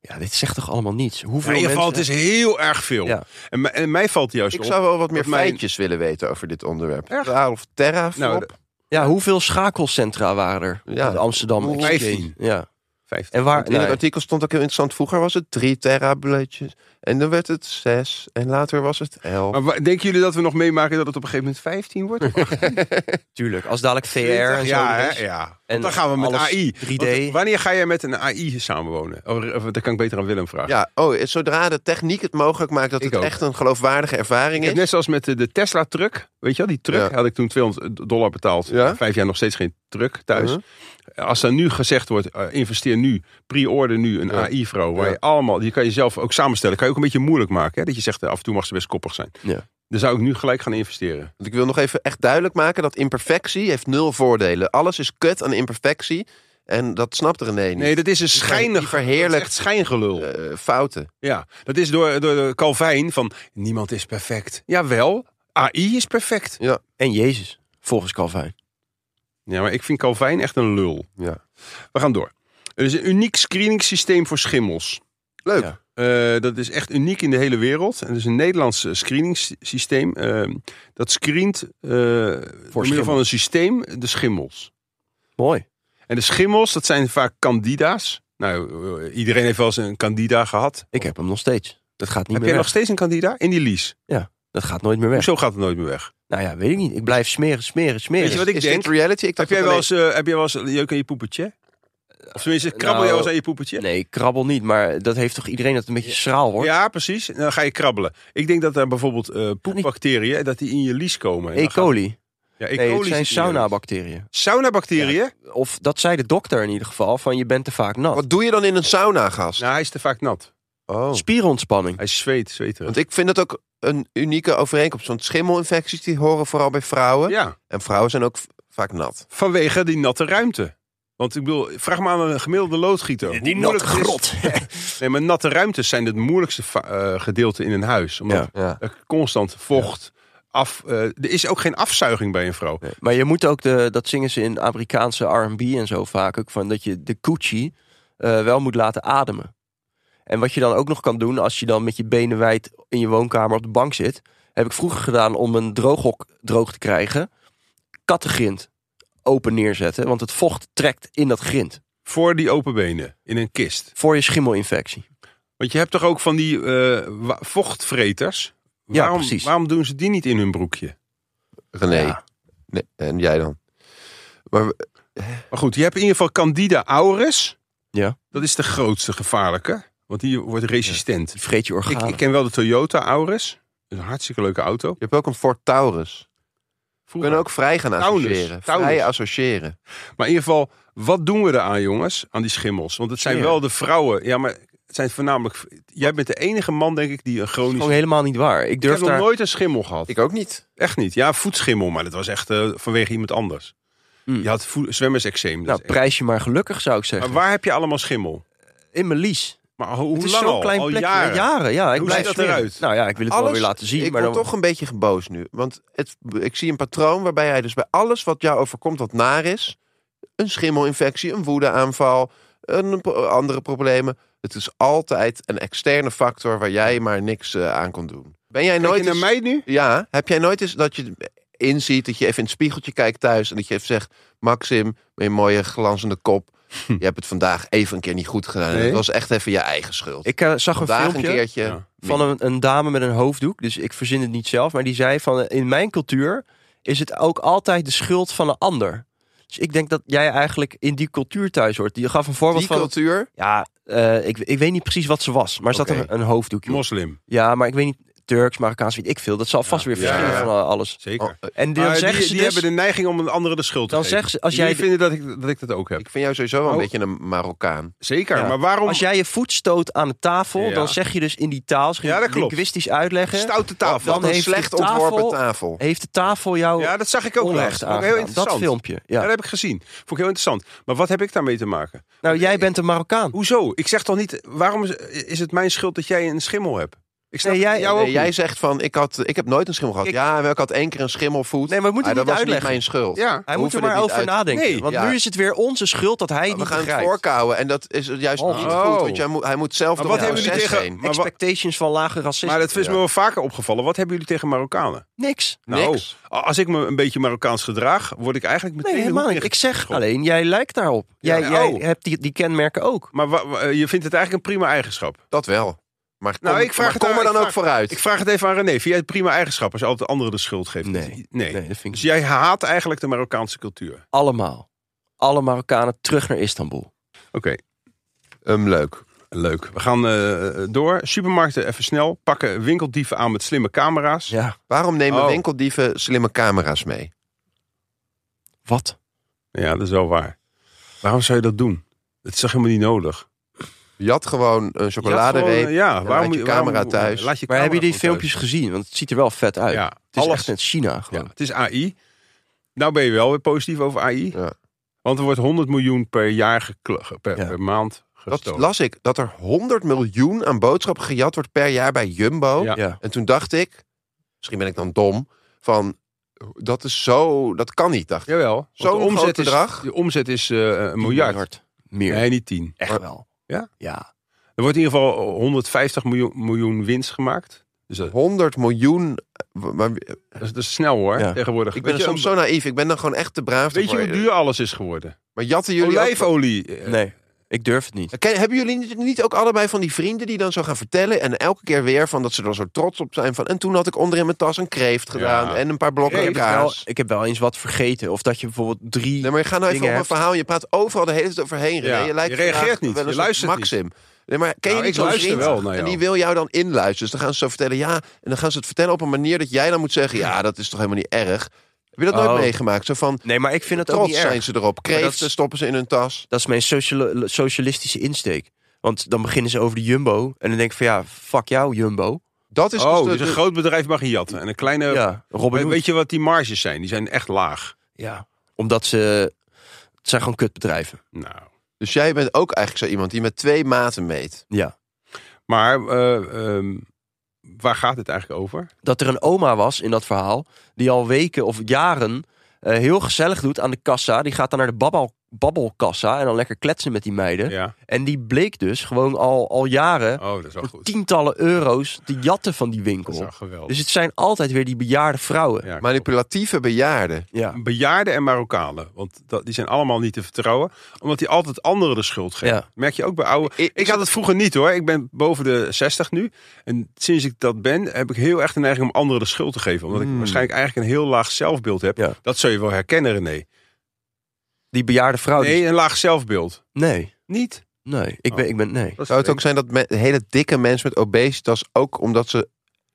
Ja, dit zegt toch allemaal niets? Hoeveel
in ieder geval, het
mensen-
is heel erg veel.
Ja.
En, mij- en mij valt juist
Ik
op.
zou wel wat meer
dat mijn-
feitjes willen weten over dit onderwerp.
Echt?
Ralf Terra,
Nou,
flop.
Ja, hoeveel schakelcentra waren er?
Ja.
Ja. De Amsterdam
Hoe-
Exchange.
15.
Ja.
50.
En waar...
in het
nee.
artikel stond ook heel interessant. Vroeger was het 3 terabitjes. En dan werd het 6. En later was het 11.
Maar wa- denken jullie dat we nog meemaken dat het op een gegeven moment 15 wordt?
Tuurlijk, als dadelijk VR en zo
ja,
er
hè?
is.
ja. Want
En
dan gaan we met
alles
AI.
3D.
Want wanneer ga jij met een AI samenwonen? Oh, r- of, dat kan ik beter aan Willem vragen.
Ja, oh, zodra de techniek het mogelijk maakt dat
Ik
het
ook.
echt een geloofwaardige ervaring
Ik heb
is.
net zoals met de, de Tesla-truck. Weet je wel, die truck
Ja.
had ik toen 200 dollar betaald. Nou,
Ja. Uh-huh.
Vijf jaar nog steeds geen truck thuis. Als dan nu gezegd wordt, eh, investeer nu, pre-order nu een
Ja.
AI-vrouw. Waar
Ja.
je allemaal, die kan je zelf ook samenstellen. Kan je ook een beetje moeilijk maken. Hè? Dat je zegt, eh, af en toe mag ze best koppig zijn.
Ja.
Dan zou ik nu gelijk gaan investeren.
Want ik wil nog even echt duidelijk maken dat imperfectie heeft nul voordelen. Alles is kut aan imperfectie. En dat snapt René niet.
Nee, dat is een schijnig,
die verheerlijkt-
dat is echt schijngelul.
Eh, fouten.
Ja, dat is door, door Calvijn van, niemand is perfect. Jawel, AI is perfect.
En Jezus, volgens Calvijn.
Ja, maar ik vind Calvijn echt een lul.
Ja.
We gaan door. Er is een uniek screeningssysteem voor schimmels.
Leuk.
Ja.
Eh, dat is echt uniek in de hele wereld. En dat is een Nederlands eh, screeningssysteem. eh, dat screent eh door middel van
schimmels.
een systeem de schimmels.
Mooi.
En de schimmels, dat zijn vaak candida's. Nou, eh, iedereen heeft wel eens een candida gehad.
Ik heb hem nog steeds. Dat gaat niet
Heb
meer
jij
weg.
nog steeds een candida? In die lease.
Dat gaat nooit meer weg.
Hoezo gaat het nooit meer weg?
Nou ja, weet ik niet. Ik blijf smeren, smeren, smeren.
Weet je wat ik
is
denk?
dit reality?
Heb
Ik dacht
jij,
dat
wel
alleen-
eens, eh, heb jij wel eens jeuk aan je poepetje? Of tenminste, krabbel
nou,
je wel eens aan je poepetje?
Nee, ik krabbel niet, maar dat heeft toch iedereen dat het een beetje schraal wordt?
Ja, precies. En Dan ga je krabbelen. Ik denk dat daar bijvoorbeeld eh, poepbacteriën, dat die in je lies komen. En
E.
dan gaat-
coli.
Ja, E.
Nee, het
coli
zijn
zit in je lies.
saunabacteriën.
Saunabacteriën?
Of dat zei de dokter in ieder geval, van je bent te vaak nat.
Wat doe je dan in een sauna, gast?
Nou, hij is te vaak nat.
Oh.
Spierontspanning.
Hij zweet, zweterig.
Want ik vind dat ook een unieke overeenkomst. Want schimmelinfecties die horen vooral bij vrouwen.
Ja,
En vrouwen zijn ook v- vaak nat.
vanwege die natte ruimte. Want ik bedoel, vraag maar aan een gemiddelde loodgieter. Hoe moeilijk het is- Nee, maar natte ruimtes zijn het moeilijkste va- eh, gedeelte in een huis. Omdat
Ja.
er constant vocht, af... eh, er is ook geen afzuiging bij een vrouw.
Nee, Maar je moet ook, de, dat zingen ze in Amerikaanse R&B en zo vaak ook, van dat je de coochie eh, wel moet laten ademen. En wat je dan ook nog kan doen, als je dan met je benen wijd in je woonkamer op de bank zit, heb ik vroeger gedaan om een drooghok droog te krijgen, kattengrind open neerzetten, want het vocht trekt in dat grind
Voor die open benen, in een kist.
voor je schimmelinfectie.
Want je hebt toch ook van die eh, wa- vochtvreters?
Ja,
waarom,
precies.
Waarom doen ze die niet in hun broekje?
René.
Ja.
Nee, En jij dan? Maar we-
Maar goed, je hebt in ieder geval Candida auris.
Ja.
Dat is de grootste gevaarlijke. Want die wordt resistent.
Die vreet je
Ik,
organen.
ik ken wel de Toyota auris. Dat is een hartstikke leuke auto.
je hebt ook een Fort Taurus. We
Vroeger.
kunnen ook vrij gaan
Taunus.
associëren.
Taunus.
Vrij associëren.
Maar in ieder geval, wat doen we eraan jongens? Aan die schimmels. Want het zijn
Ja.
wel de vrouwen. Ja, maar het zijn voornamelijk... Jij bent de enige man denk ik die een
Dat is
chronisch...
gewoon helemaal niet waar. Ik
Ik
durf
heb nog
daar...
nooit een schimmel gehad.
Ik ook niet.
Echt niet. Ja, voetschimmel. Maar dat was echt eh, vanwege iemand anders.
Hmm.
Je had voe- zwemmerseczeem. dat
Nou,
is echt-
prijs je maar gelukkig zou ik
Maar
zeggen.
waar heb je allemaal schimmel?
In mijn lies.
Maar ho- hoe
Het is
lang
zo'n
al?
klein
al
plekje.
jaren.
ja. Ik
Hoe
blijf
ziet dat
smeren.
eruit?
Nou ja, ik wil het wel weer laten zien.
ik
maar
word
dan...
toch een beetje geboos nu. Want het, ik zie een patroon waarbij jij dus bij alles wat jou overkomt wat naar is... een schimmelinfectie, een woedeaanval, een, pro- andere problemen... Het is altijd een externe factor waar jij maar niks eh, aan kon doen. Ben jij
Kijk
nooit
je naar
eens-
mij nu?
Ja, heb jij nooit eens dat je inziet dat je even in het spiegeltje kijkt thuis en dat je even zegt: Maxim, met je mooie glanzende kop, je hebt het vandaag even een keer niet goed gedaan.
Hm. Nee.
Het was echt even je eigen schuld.
Ik eh, zag een
vandaag
filmpje
een keertje.
Ja.
van een, een dame met een hoofddoek. Dus ik verzin het niet zelf. Maar die zei van eh, in mijn cultuur is het ook altijd de schuld van een ander. Dus ik denk dat jij eigenlijk in die cultuur thuis hoort. Die gaf een voorbeeld
die
van...
cultuur.
Ja, eh, ik, ik weet niet precies wat ze was. Maar ze had
Oké.
een, een hoofddoekje. op.
Moslim,
Ja, maar ik weet niet. Turks, Marokkaans, weet ik veel. Dat zal vast weer
ja,
verschillen
ja.
van eh, alles.
zeker.
Oh,
En dan
Maar
zeggen
die
ze
die
dus-
hebben de neiging om een andere de schuld te
Dan
geven.
zeggen ze, als
Jullie
jij de-
vinden dat ik, dat ik dat ook heb.
ik vind jou sowieso wel een
Oh.
beetje een Marokkaan.
Zeker,
Ja.
maar waarom
Als jij je voet stoot aan de tafel,
Oh. Ja.
dan zeg je dus in die taal,
Ja, dat
ja,
klopt.
linguistisch uitleggen,
stoute tafel?
Dan
Wat een
heeft de
slecht
tafel-
ontworpen tafel.
heeft de tafel jou
ja, dat zag ik ook
onrecht
laatst. Vond ik
aangedaan.
Heel interessant.
Dat filmpje.
Ja,
Ja.
dat heb ik gezien. Vond ik heel interessant. Maar wat heb ik daarmee te maken?
Nou, jij bent een Marokkaan.
Hoezo? Ik zeg toch niet, waarom is, is het mijn schuld dat jij een schimmel hebt? Ik snap
Nee, jij-
jou ook
Nee, Eh, jij
niet.
zegt van: ik, had, ik heb nooit een schimmel gehad.
Ik-
ja, maar ik had één keer een schimmelvoet.
Nee, maar we moeten
Ah,
het
dat
niet
was
uitleggen.
niet mijn schuld.
Ja.
Hij
We
moet er
hoeven
maar
dit niet
over
uit-
nadenken.
Nee,
want
ja.
nu is het weer onze schuld dat hij
Maar we
niet
gaan het
begrijpt.
voorkouwen en dat is juist
Oh.
niet
Oh.
goed. Want jij moet, hij moet zelf
Maar
door
wat
het
hebben jullie
proces
tegen-
heen.
Maar wa-
Expectations van lage racisme.
Maar dat is me
Ja.
wel vaker opgevallen. Wat hebben jullie tegen Marokkanen?
niks.
Nou,
Niks.
als ik me een beetje Marokkaans gedraag, word ik eigenlijk meteen...
Nee,
de
helemaal
hoek
niet. Ik
inge-
zeg alleen, jij lijkt daarop. Jij,
Ja.
jij
Oh.
hebt die, die kenmerken ook.
Maar wa- wa- je vindt het eigenlijk een prima eigenschap?
Dat wel. Maar kom,
Nou, ik vraag
maar
het
kom
aan-
er
ik
dan ook
vraag-
vooruit.
Ik vraag het even aan René. Vind jij het prima eigenschap als je altijd anderen de schuld geeft?
Nee.
nee.
dat vind
Dus
ik
jij haat eigenlijk de Marokkaanse cultuur.
allemaal. Alle Marokkanen terug naar Istanbul.
Oké,
Hem Ehm, leuk.
leuk. We gaan eh, door. Supermarkten even snel. Pakken winkeldieven aan met slimme camera's.
Ja,
Waarom nemen
Oh.
winkeldieven slimme camera's mee?
wat?
Ja, dat is wel waar. Waarom zou je dat doen? Het is toch helemaal niet nodig?
Je had gewoon een
Ja,
chocoladereep.
gewoon, eh, ja, waarom
laat je camera thuis.
Laat je
Maar
camera
hebben jullie die
gewoon
filmpjes gezien? Want het ziet er wel vet
thuis.
uit.
Ja,
het is
alles.
echt net China
ja,
gewoon.
het is AI. Nou ben je wel weer positief over AI.
Ja.
Want er wordt 100 miljoen per jaar gekl- ge- per,
Ja.
per maand
Dat
gestolen.
las ik. Dat er 100 miljoen aan boodschappen gejat wordt per jaar bij Jumbo.
Ja.
Ja.
En toen dacht ik, misschien ben ik dan dom, van dat is zo, dat kan niet, dacht ik.
Jawel. want
Zo'n
de omzet
groot
Is,
bedrag.
de omzet is eh, een miljard.
Meer.
Nee, niet 10.
Echt wel.
Ja?
Ja.
Er wordt in ieder geval 150 miljoen, miljoen winst gemaakt. Dus dat,
100 miljoen. Maar,
dat is, dat is snel hoor,
Ja.
tegenwoordig.
ik ben
Weet je,
soms zo naïef. Ik ben dan gewoon echt te braaf.
Weet je hoe
ervoor.
duur alles is geworden?
Maar jatten jullie ook-
Olijfolie. eh,
Nee, ik durf het niet.
Ken- hebben jullie niet- niet ook allebei van die vrienden die dan zo gaan vertellen en elke keer weer van dat ze er zo trots op zijn van en toen had ik onder in mijn tas een kreeft gedaan
Ja. Nou,
en een paar blokken
Ik heb, wel,
kaas.
ik heb wel eens wat vergeten. Of dat je bijvoorbeeld drie...
Nee, maar je gaat nou even
dingen
op
hebt.
een verhaal. Je praat overal de hele tijd overheen. René.
Ja,
Je, lijkt
je reageert
vandaag
niet,
wel een
je
soort
luistert niet.
Maxim. Nee, maar ken
Nou,
je
ik
niet zo'n
luister
vriend?
wel naar
en
jou.
die wil jou dan inluisteren. Dus dan gaan ze zo vertellen ja. En dan gaan ze het vertellen op een manier dat jij dan moet zeggen ja, dat is toch helemaal niet erg. Heb je dat
Oh.
nooit meegemaakt? Zo van
Nee, maar ik vind het ook
trots
niet erg.
zijn ze erop.
dat
Kreeften
is-
stoppen ze in hun tas.
Dat is mijn sociali- socialistische insteek. Want dan beginnen ze over de Jumbo. En dan denk ik van ja, fuck jou Jumbo.
Dat is
oh,
de-
dus een
de-
groot bedrijf mag je jatten. En een kleine...
ja, Robin
weet,
Hood.
weet je wat die marges zijn? Die zijn echt laag.
Ja, omdat ze... Het zijn gewoon kutbedrijven.
Nou.
Dus jij bent ook eigenlijk zo iemand die met twee maten meet.
Ja.
Maar eh, ehm, waar gaat het eigenlijk over?
Dat er een oma was in dat verhaal. Die al weken of jaren eh, heel gezellig doet aan de kassa. Die gaat dan naar de babbel, babbelkassa. En dan lekker kletsen met die meiden.
Ja.
En die bleek dus gewoon al, al jaren
Oh, dat is wel
voor
goed.
tientallen euro's te jatten van die
Dat is
winkel.
wel geweldig.
Dus het zijn altijd weer die bejaarde vrouwen.
Ja,
Manipulatieve bejaarden.
Ja.
Bejaarden en Marokkanen. Want dat, die zijn allemaal niet te vertrouwen. Omdat die altijd anderen de schuld geven.
Ja.
Merk je ook bij oude.
Ik-
Ik, had het vroeger niet hoor. Ik ben boven de 60 nu. En sinds ik dat ben, heb ik heel echt de neiging om anderen de schuld te geven. Omdat ik waarschijnlijk eigenlijk een heel laag zelfbeeld heb.
Hmm. Ja. Oh,
Dat zou je wel herkennen, René.
Die bejaarde vrouwen. die-
Nee, een laag zelfbeeld.
Nee.
Niet.
Nee. Ik, ben, ik ben... Nee.
Dat
Zou het ook zijn dat me- hele dikke mensen met obesitas ook omdat ze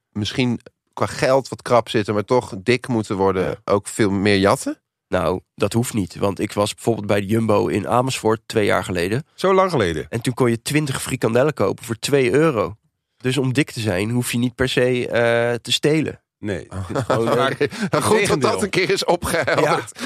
misschien qua geld wat krap zitten, maar toch dik moeten worden,
Ja.
ook veel meer jatten?
Nou, dat hoeft niet. Want ik was bijvoorbeeld bij de Jumbo in Amersfoort twee jaar geleden.
Zo lang geleden.
En toen kon je 20 frikandellen kopen voor 2 euro. Dus om dik te zijn hoef je niet per se eh, te stelen.
Nee.
Gewoon, eh,
Oh, Oké. Goed dat dat
tegendeel.
een keer is opgehelderd.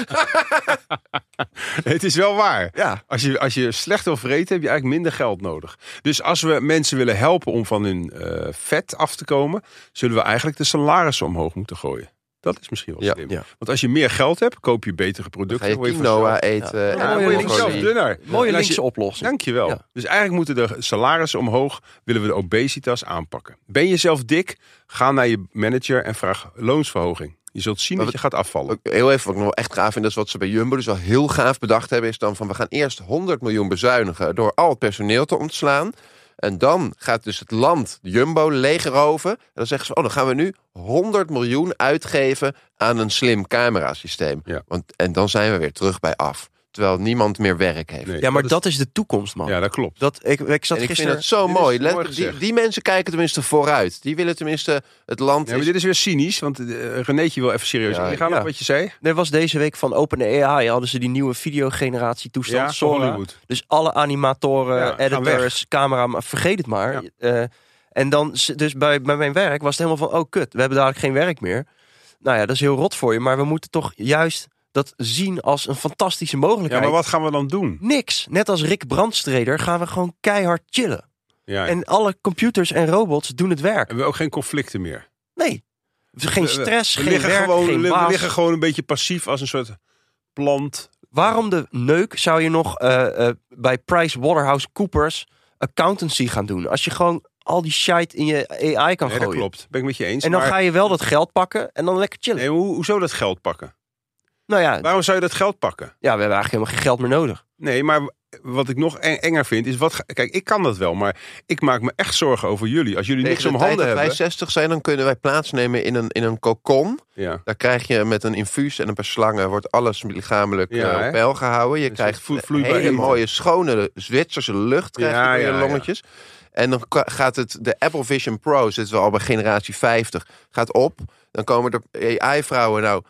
het is wel waar.
ja.
Als je, als je slecht wil vreten, heb je eigenlijk minder geld nodig. Dus als we mensen willen helpen om van hun eh, vet af te komen, zullen we eigenlijk de salarissen omhoog moeten gooien. Dat is misschien wel
Ja.
slim.
Ja.
Want als je meer geld hebt, koop je betere
Ga
producten.
je eh,
word je
quinoa
vanzelf-
eten.
Ja.
en
Ja, dan word je vanzelf
broccoli.
dunner.
Mooie
En als
linkse
je-
oplossing.
Dankjewel.
Ja.
Dus eigenlijk moeten de salarissen omhoog, willen we de obesitas aanpakken. Ben je zelf dik? Ga naar je manager en vraag loonsverhoging. Je zult zien
Maar
dat je gaat afvallen.
Ook Heel even, wat ik nog wel echt gaaf vind, dat is wat ze bij Jumbo dus wel heel gaaf bedacht hebben, is dan van we gaan eerst 100 miljoen bezuinigen door al het personeel te ontslaan. En dan gaat dus het land Jumbo legeroven. En dan zeggen ze, oh, dan gaan we nu 100 miljoen uitgeven aan een slim camerasysteem.
Ja.
Want, en dan zijn we weer terug bij af. Terwijl niemand meer werk heeft.
Nee,
Ja, maar
is-
dat is de toekomst, man.
Ja, dat klopt.
Dat, ik, ik zat
En ik vind
gisteren...
dat zo
dit is
mooi.
mooi
Let- die,
gezegd.
die mensen kijken tenminste vooruit. Die willen tenminste het land...
Ja, maar
is-
dit is weer cynisch, want eh, Renéetje wil even serieus
Ja,
ingaan
ja.
op wat je zei.
Er was deze week van OpenAI, hadden ze die nieuwe videogeneratie toestand,
Ja,
Sora.
Hollywood.
Dus alle animatoren,
Ja, gaan
editors, camera, maar vergeet het maar.
Ja.
Eh, en dan, z- dus bij, bij mijn werk was het helemaal van, oh kut, we hebben dadelijk geen werk meer. Nou ja, dat is heel rot voor je, maar we moeten toch juist dat zien als een fantastische
Ja,
mogelijkheid.
maar wat gaan we dan doen?
Niks. Net als Rick Brandstreder gaan we gewoon keihard chillen.
Ja, en
En alle computers en robots doen het werk.
hebben we ook geen conflicten meer.
Nee. Geen
We- we-
stress,
we
geen
liggen
werk,
gewoon,
geen
we
baas.
liggen gewoon een beetje passief als een soort plant.
Waarom de neuk zou je nog eh, eh, bij PricewaterhouseCoopers accountancy gaan doen? Als je gewoon al die shit in je AI kan
Nee, dat
gooien.
klopt. Ben ik met je eens.
En dan
maar,
ga je wel dat geld pakken en dan lekker chillen.
nee, hoe, hoezo dat geld pakken?
Nou ja,
Waarom zou je dat geld pakken?
ja, we hebben eigenlijk helemaal geen geld meer nodig.
Nee, maar wat ik nog eng- enger vind is wat. ga- Kijk, ik kan dat wel, maar ik maak me echt zorgen over jullie. Als jullie
Tegen
niks om
de tijd
handen
dat wij
hebben.
60 zijn, dan kunnen wij plaatsnemen in een, in een cocon.
Ja.
Daar krijg je met een infuus en een paar slangen wordt alles lichamelijk
Ja,
eh,
hè?
op peil gehouden. Je
Een
krijgt
soort vlo- vloeibaar
hele
eten.
mooie schone Zwitserse lucht krijg je
Ja,
door je
ja,
longetjes. En dan ka- gaat het, de Apple Vision Pro, zitten we al bij generatie 50, gaat op. Dan komen er AI-vrouwen. Nou,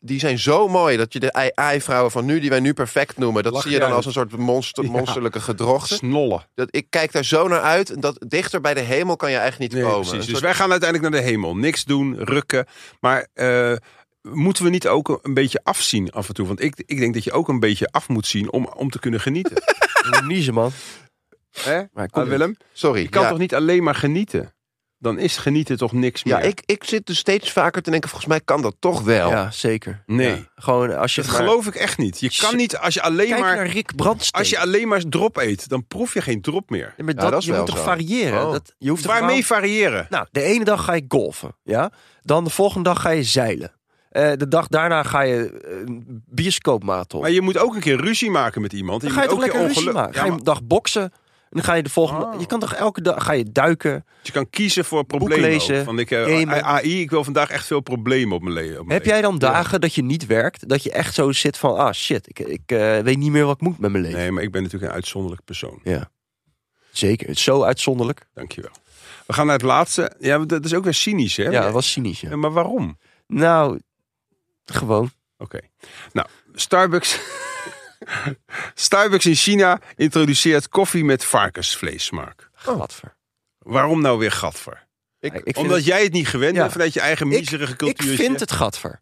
die zijn zo mooi dat je de AI-vrouwen van nu, die wij nu perfect noemen, dat
Lach
zie
je
je dan
uit.
als een soort monster,
Ja.
monsterlijke gedrochten.
Snollen.
Dat, ik kijk daar zo naar uit. En dat dichter bij de hemel kan je eigenlijk niet
Nee,
komen.
precies.
Een
Dus
soort-
wij gaan uiteindelijk naar de hemel. Niks doen, rukken. Maar eh, moeten we niet ook een beetje afzien af en toe? Want ik, ik denk dat je ook een beetje af moet zien om, om te kunnen genieten.
Je moet niezen, man.
Hè?
Maar kom
Ah, Willem,
Sorry.
je kan
ja.
toch niet alleen maar genieten? Dan is genieten toch niks meer?
Ja, ik, ik zit dus steeds vaker te denken, volgens mij kan dat toch wel.
Ja, zeker.
Oh. Nee.
Ja, gewoon als je
Dat
maar-
geloof ik echt niet. Je kan niet als je alleen
Kijk
maar.
naar Rick Brandstreder.
Als je alleen maar drop eet, dan proef je geen drop meer.
Ja, maar
Ja,
dat,
dat is
je
wel
moet toch
zo.
variëren?
Oh.
Dat, je hoeft toch gewoon-
Waarmee variëren?
Nou, de ene dag ga je golfen, ja. Dan de volgende dag ga je zeilen. Eh, de dag daarna ga je eh, een bioscoopmarathon.
Maar je moet ook een keer ruzie maken met iemand.
Dan ga je
moet
toch
ook een keer
lekker ruzie
ongeluk-
maken.
Ja,
Ga je
maar
een dag boksen. En dan ga je de volgende...
Oh.
Je kan toch elke dag... Ga je duiken?
je kan kiezen voor problemen.
lezen,
ook. Van ik, eh,
gamen.
AI, ik wil vandaag echt veel problemen op mijn le- op mijn leven.
Heb jij dan dagen dat je niet werkt? Dat je echt zo zit van... Ah, shit. Ik, ik eh, weet niet meer wat ik moet met mijn leven.
Nee, maar ik ben natuurlijk een uitzonderlijk persoon.
Ja. Zeker. Het is zo uitzonderlijk.
Dankjewel. We gaan naar het laatste. Ja, want dat is ook weer cynisch, hè?
Ja, dat was cynisch. ja.
Ja, Maar waarom?
Nou, gewoon.
Oké. Nou, Starbucks. Starbucks in China introduceert koffie met varkensvleessmaak.
Gadver.
Waarom nou weer gatver?
Ik, ik vind
Omdat
het-
jij het niet gewend
Ja.
bent vanuit je eigen
Ik-
miserige
Ik
cultuur.
vind het gadver.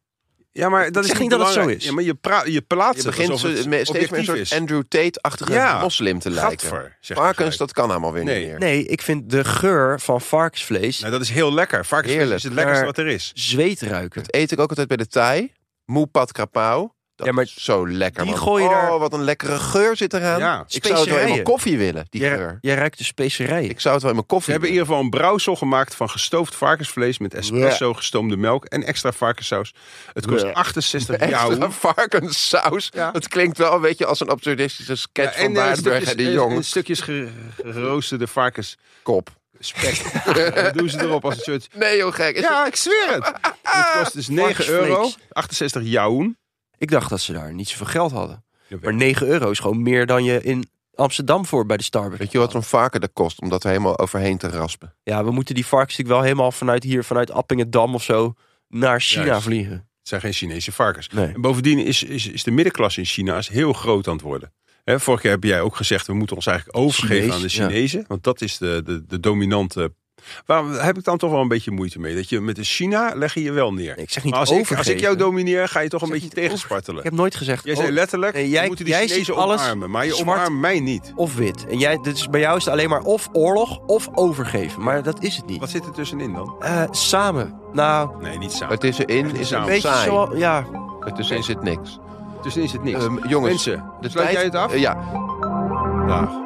Ja, maar dat
zeg
is
niet dat het zo
belangrijk.
is.
Ja, maar je, praat, je plaatst
Je
het
begint
alsof
zo-
het
met- steeds meer een
objectief is.
soort Andrew Tate-achtige
Ja,
moslim te lijken.
Gadver, zegt
Varkens,
hij.
dat kan allemaal weer
Nee.
niet meer.
Nee, ik vind de geur van varkensvlees...
Nou, dat is heel lekker. Varkensvlees
Heerlijk.
is het lekkerste
Maar-
wat er is.
Zweet ruiken.
Dat eet ik ook altijd bij de Thai. Moe pat krapau. Dat
Ja, maar
is zo lekker,
die
man.
gooi je
oh,
daar-
wat een lekkere geur zit eraan.
Ja.
Ik zou het wel in mijn
Specerijen.
koffie willen, die
Jij,
geur.
jij ruikt de specerijen.
Ik zou het wel in mijn
Ze
koffie
hebben in
willen.
ieder geval een brouwsel gemaakt van gestoofd varkensvlees met espresso, gestoomde melk en extra varkenssaus. Het kost
Ja.
68
Extra
jou.
varkenssaus.
Ja.
Dat klinkt wel een beetje als een absurdistische sketch van
eh,
Waardenburg
stukjes,
en de
eh,
Jong.
en stukjes ge- geroosterde varkenskop.
Kop.
Dat doen ze erop als een soort...
Nee, joh, gek. Is
Ja, ik zweer het. Het kost dus 9 euro.
Varkensvlees.
68 jouwen.
Ik dacht dat ze daar niet zoveel geld hadden.
Jawel.
Maar 9 euro is gewoon meer dan je in Amsterdam voor bij de Starbucks.
Weet je wat zo'n varken dat kost om dat er helemaal overheen te raspen?
Ja, we moeten die varkens natuurlijk wel helemaal vanuit hier, vanuit Appingedam of zo, naar China
Juist.
vliegen.
Het zijn geen Chinese varkens.
Nee.
En bovendien is, is, is de middenklasse in China is heel groot aan het worden. Hè, vorige keer heb jij ook gezegd, we moeten ons eigenlijk overgeven
Chinees,
aan de
ja.
Chinezen. Want dat is de, de, de dominante Waarom heb ik dan toch wel een beetje moeite mee? Dat je met een China leg je je wel neer.
Nee, ik zeg niet
Maar als ik, als
overgeven.
ik jou domineer, ga je toch een
zeg
beetje
niet over-
tegenspartelen.
Ik heb nooit gezegd
Jij zei
oh,
letterlijk,
Nee,
we
jij-
moeten die
jij
Chinezen
ziet alles
omarmen. Maar je
zwart.
omarmt mij niet.
of wit. En jij, dus bij jou is het alleen maar of oorlog of overgeven. Maar dat is het niet.
Wat zit er tussenin dan?
Eh, samen. Nou,
Nee, niet samen.
Het is erin, is
Samen.
een
weet je
saai.
zo... Ja,
Het is in zit niks.
Tussenin zit niks.
Ehm, jongens,
Mensen,
de
sluit
tijd-
jij het af?
Eh, ja.
Dag.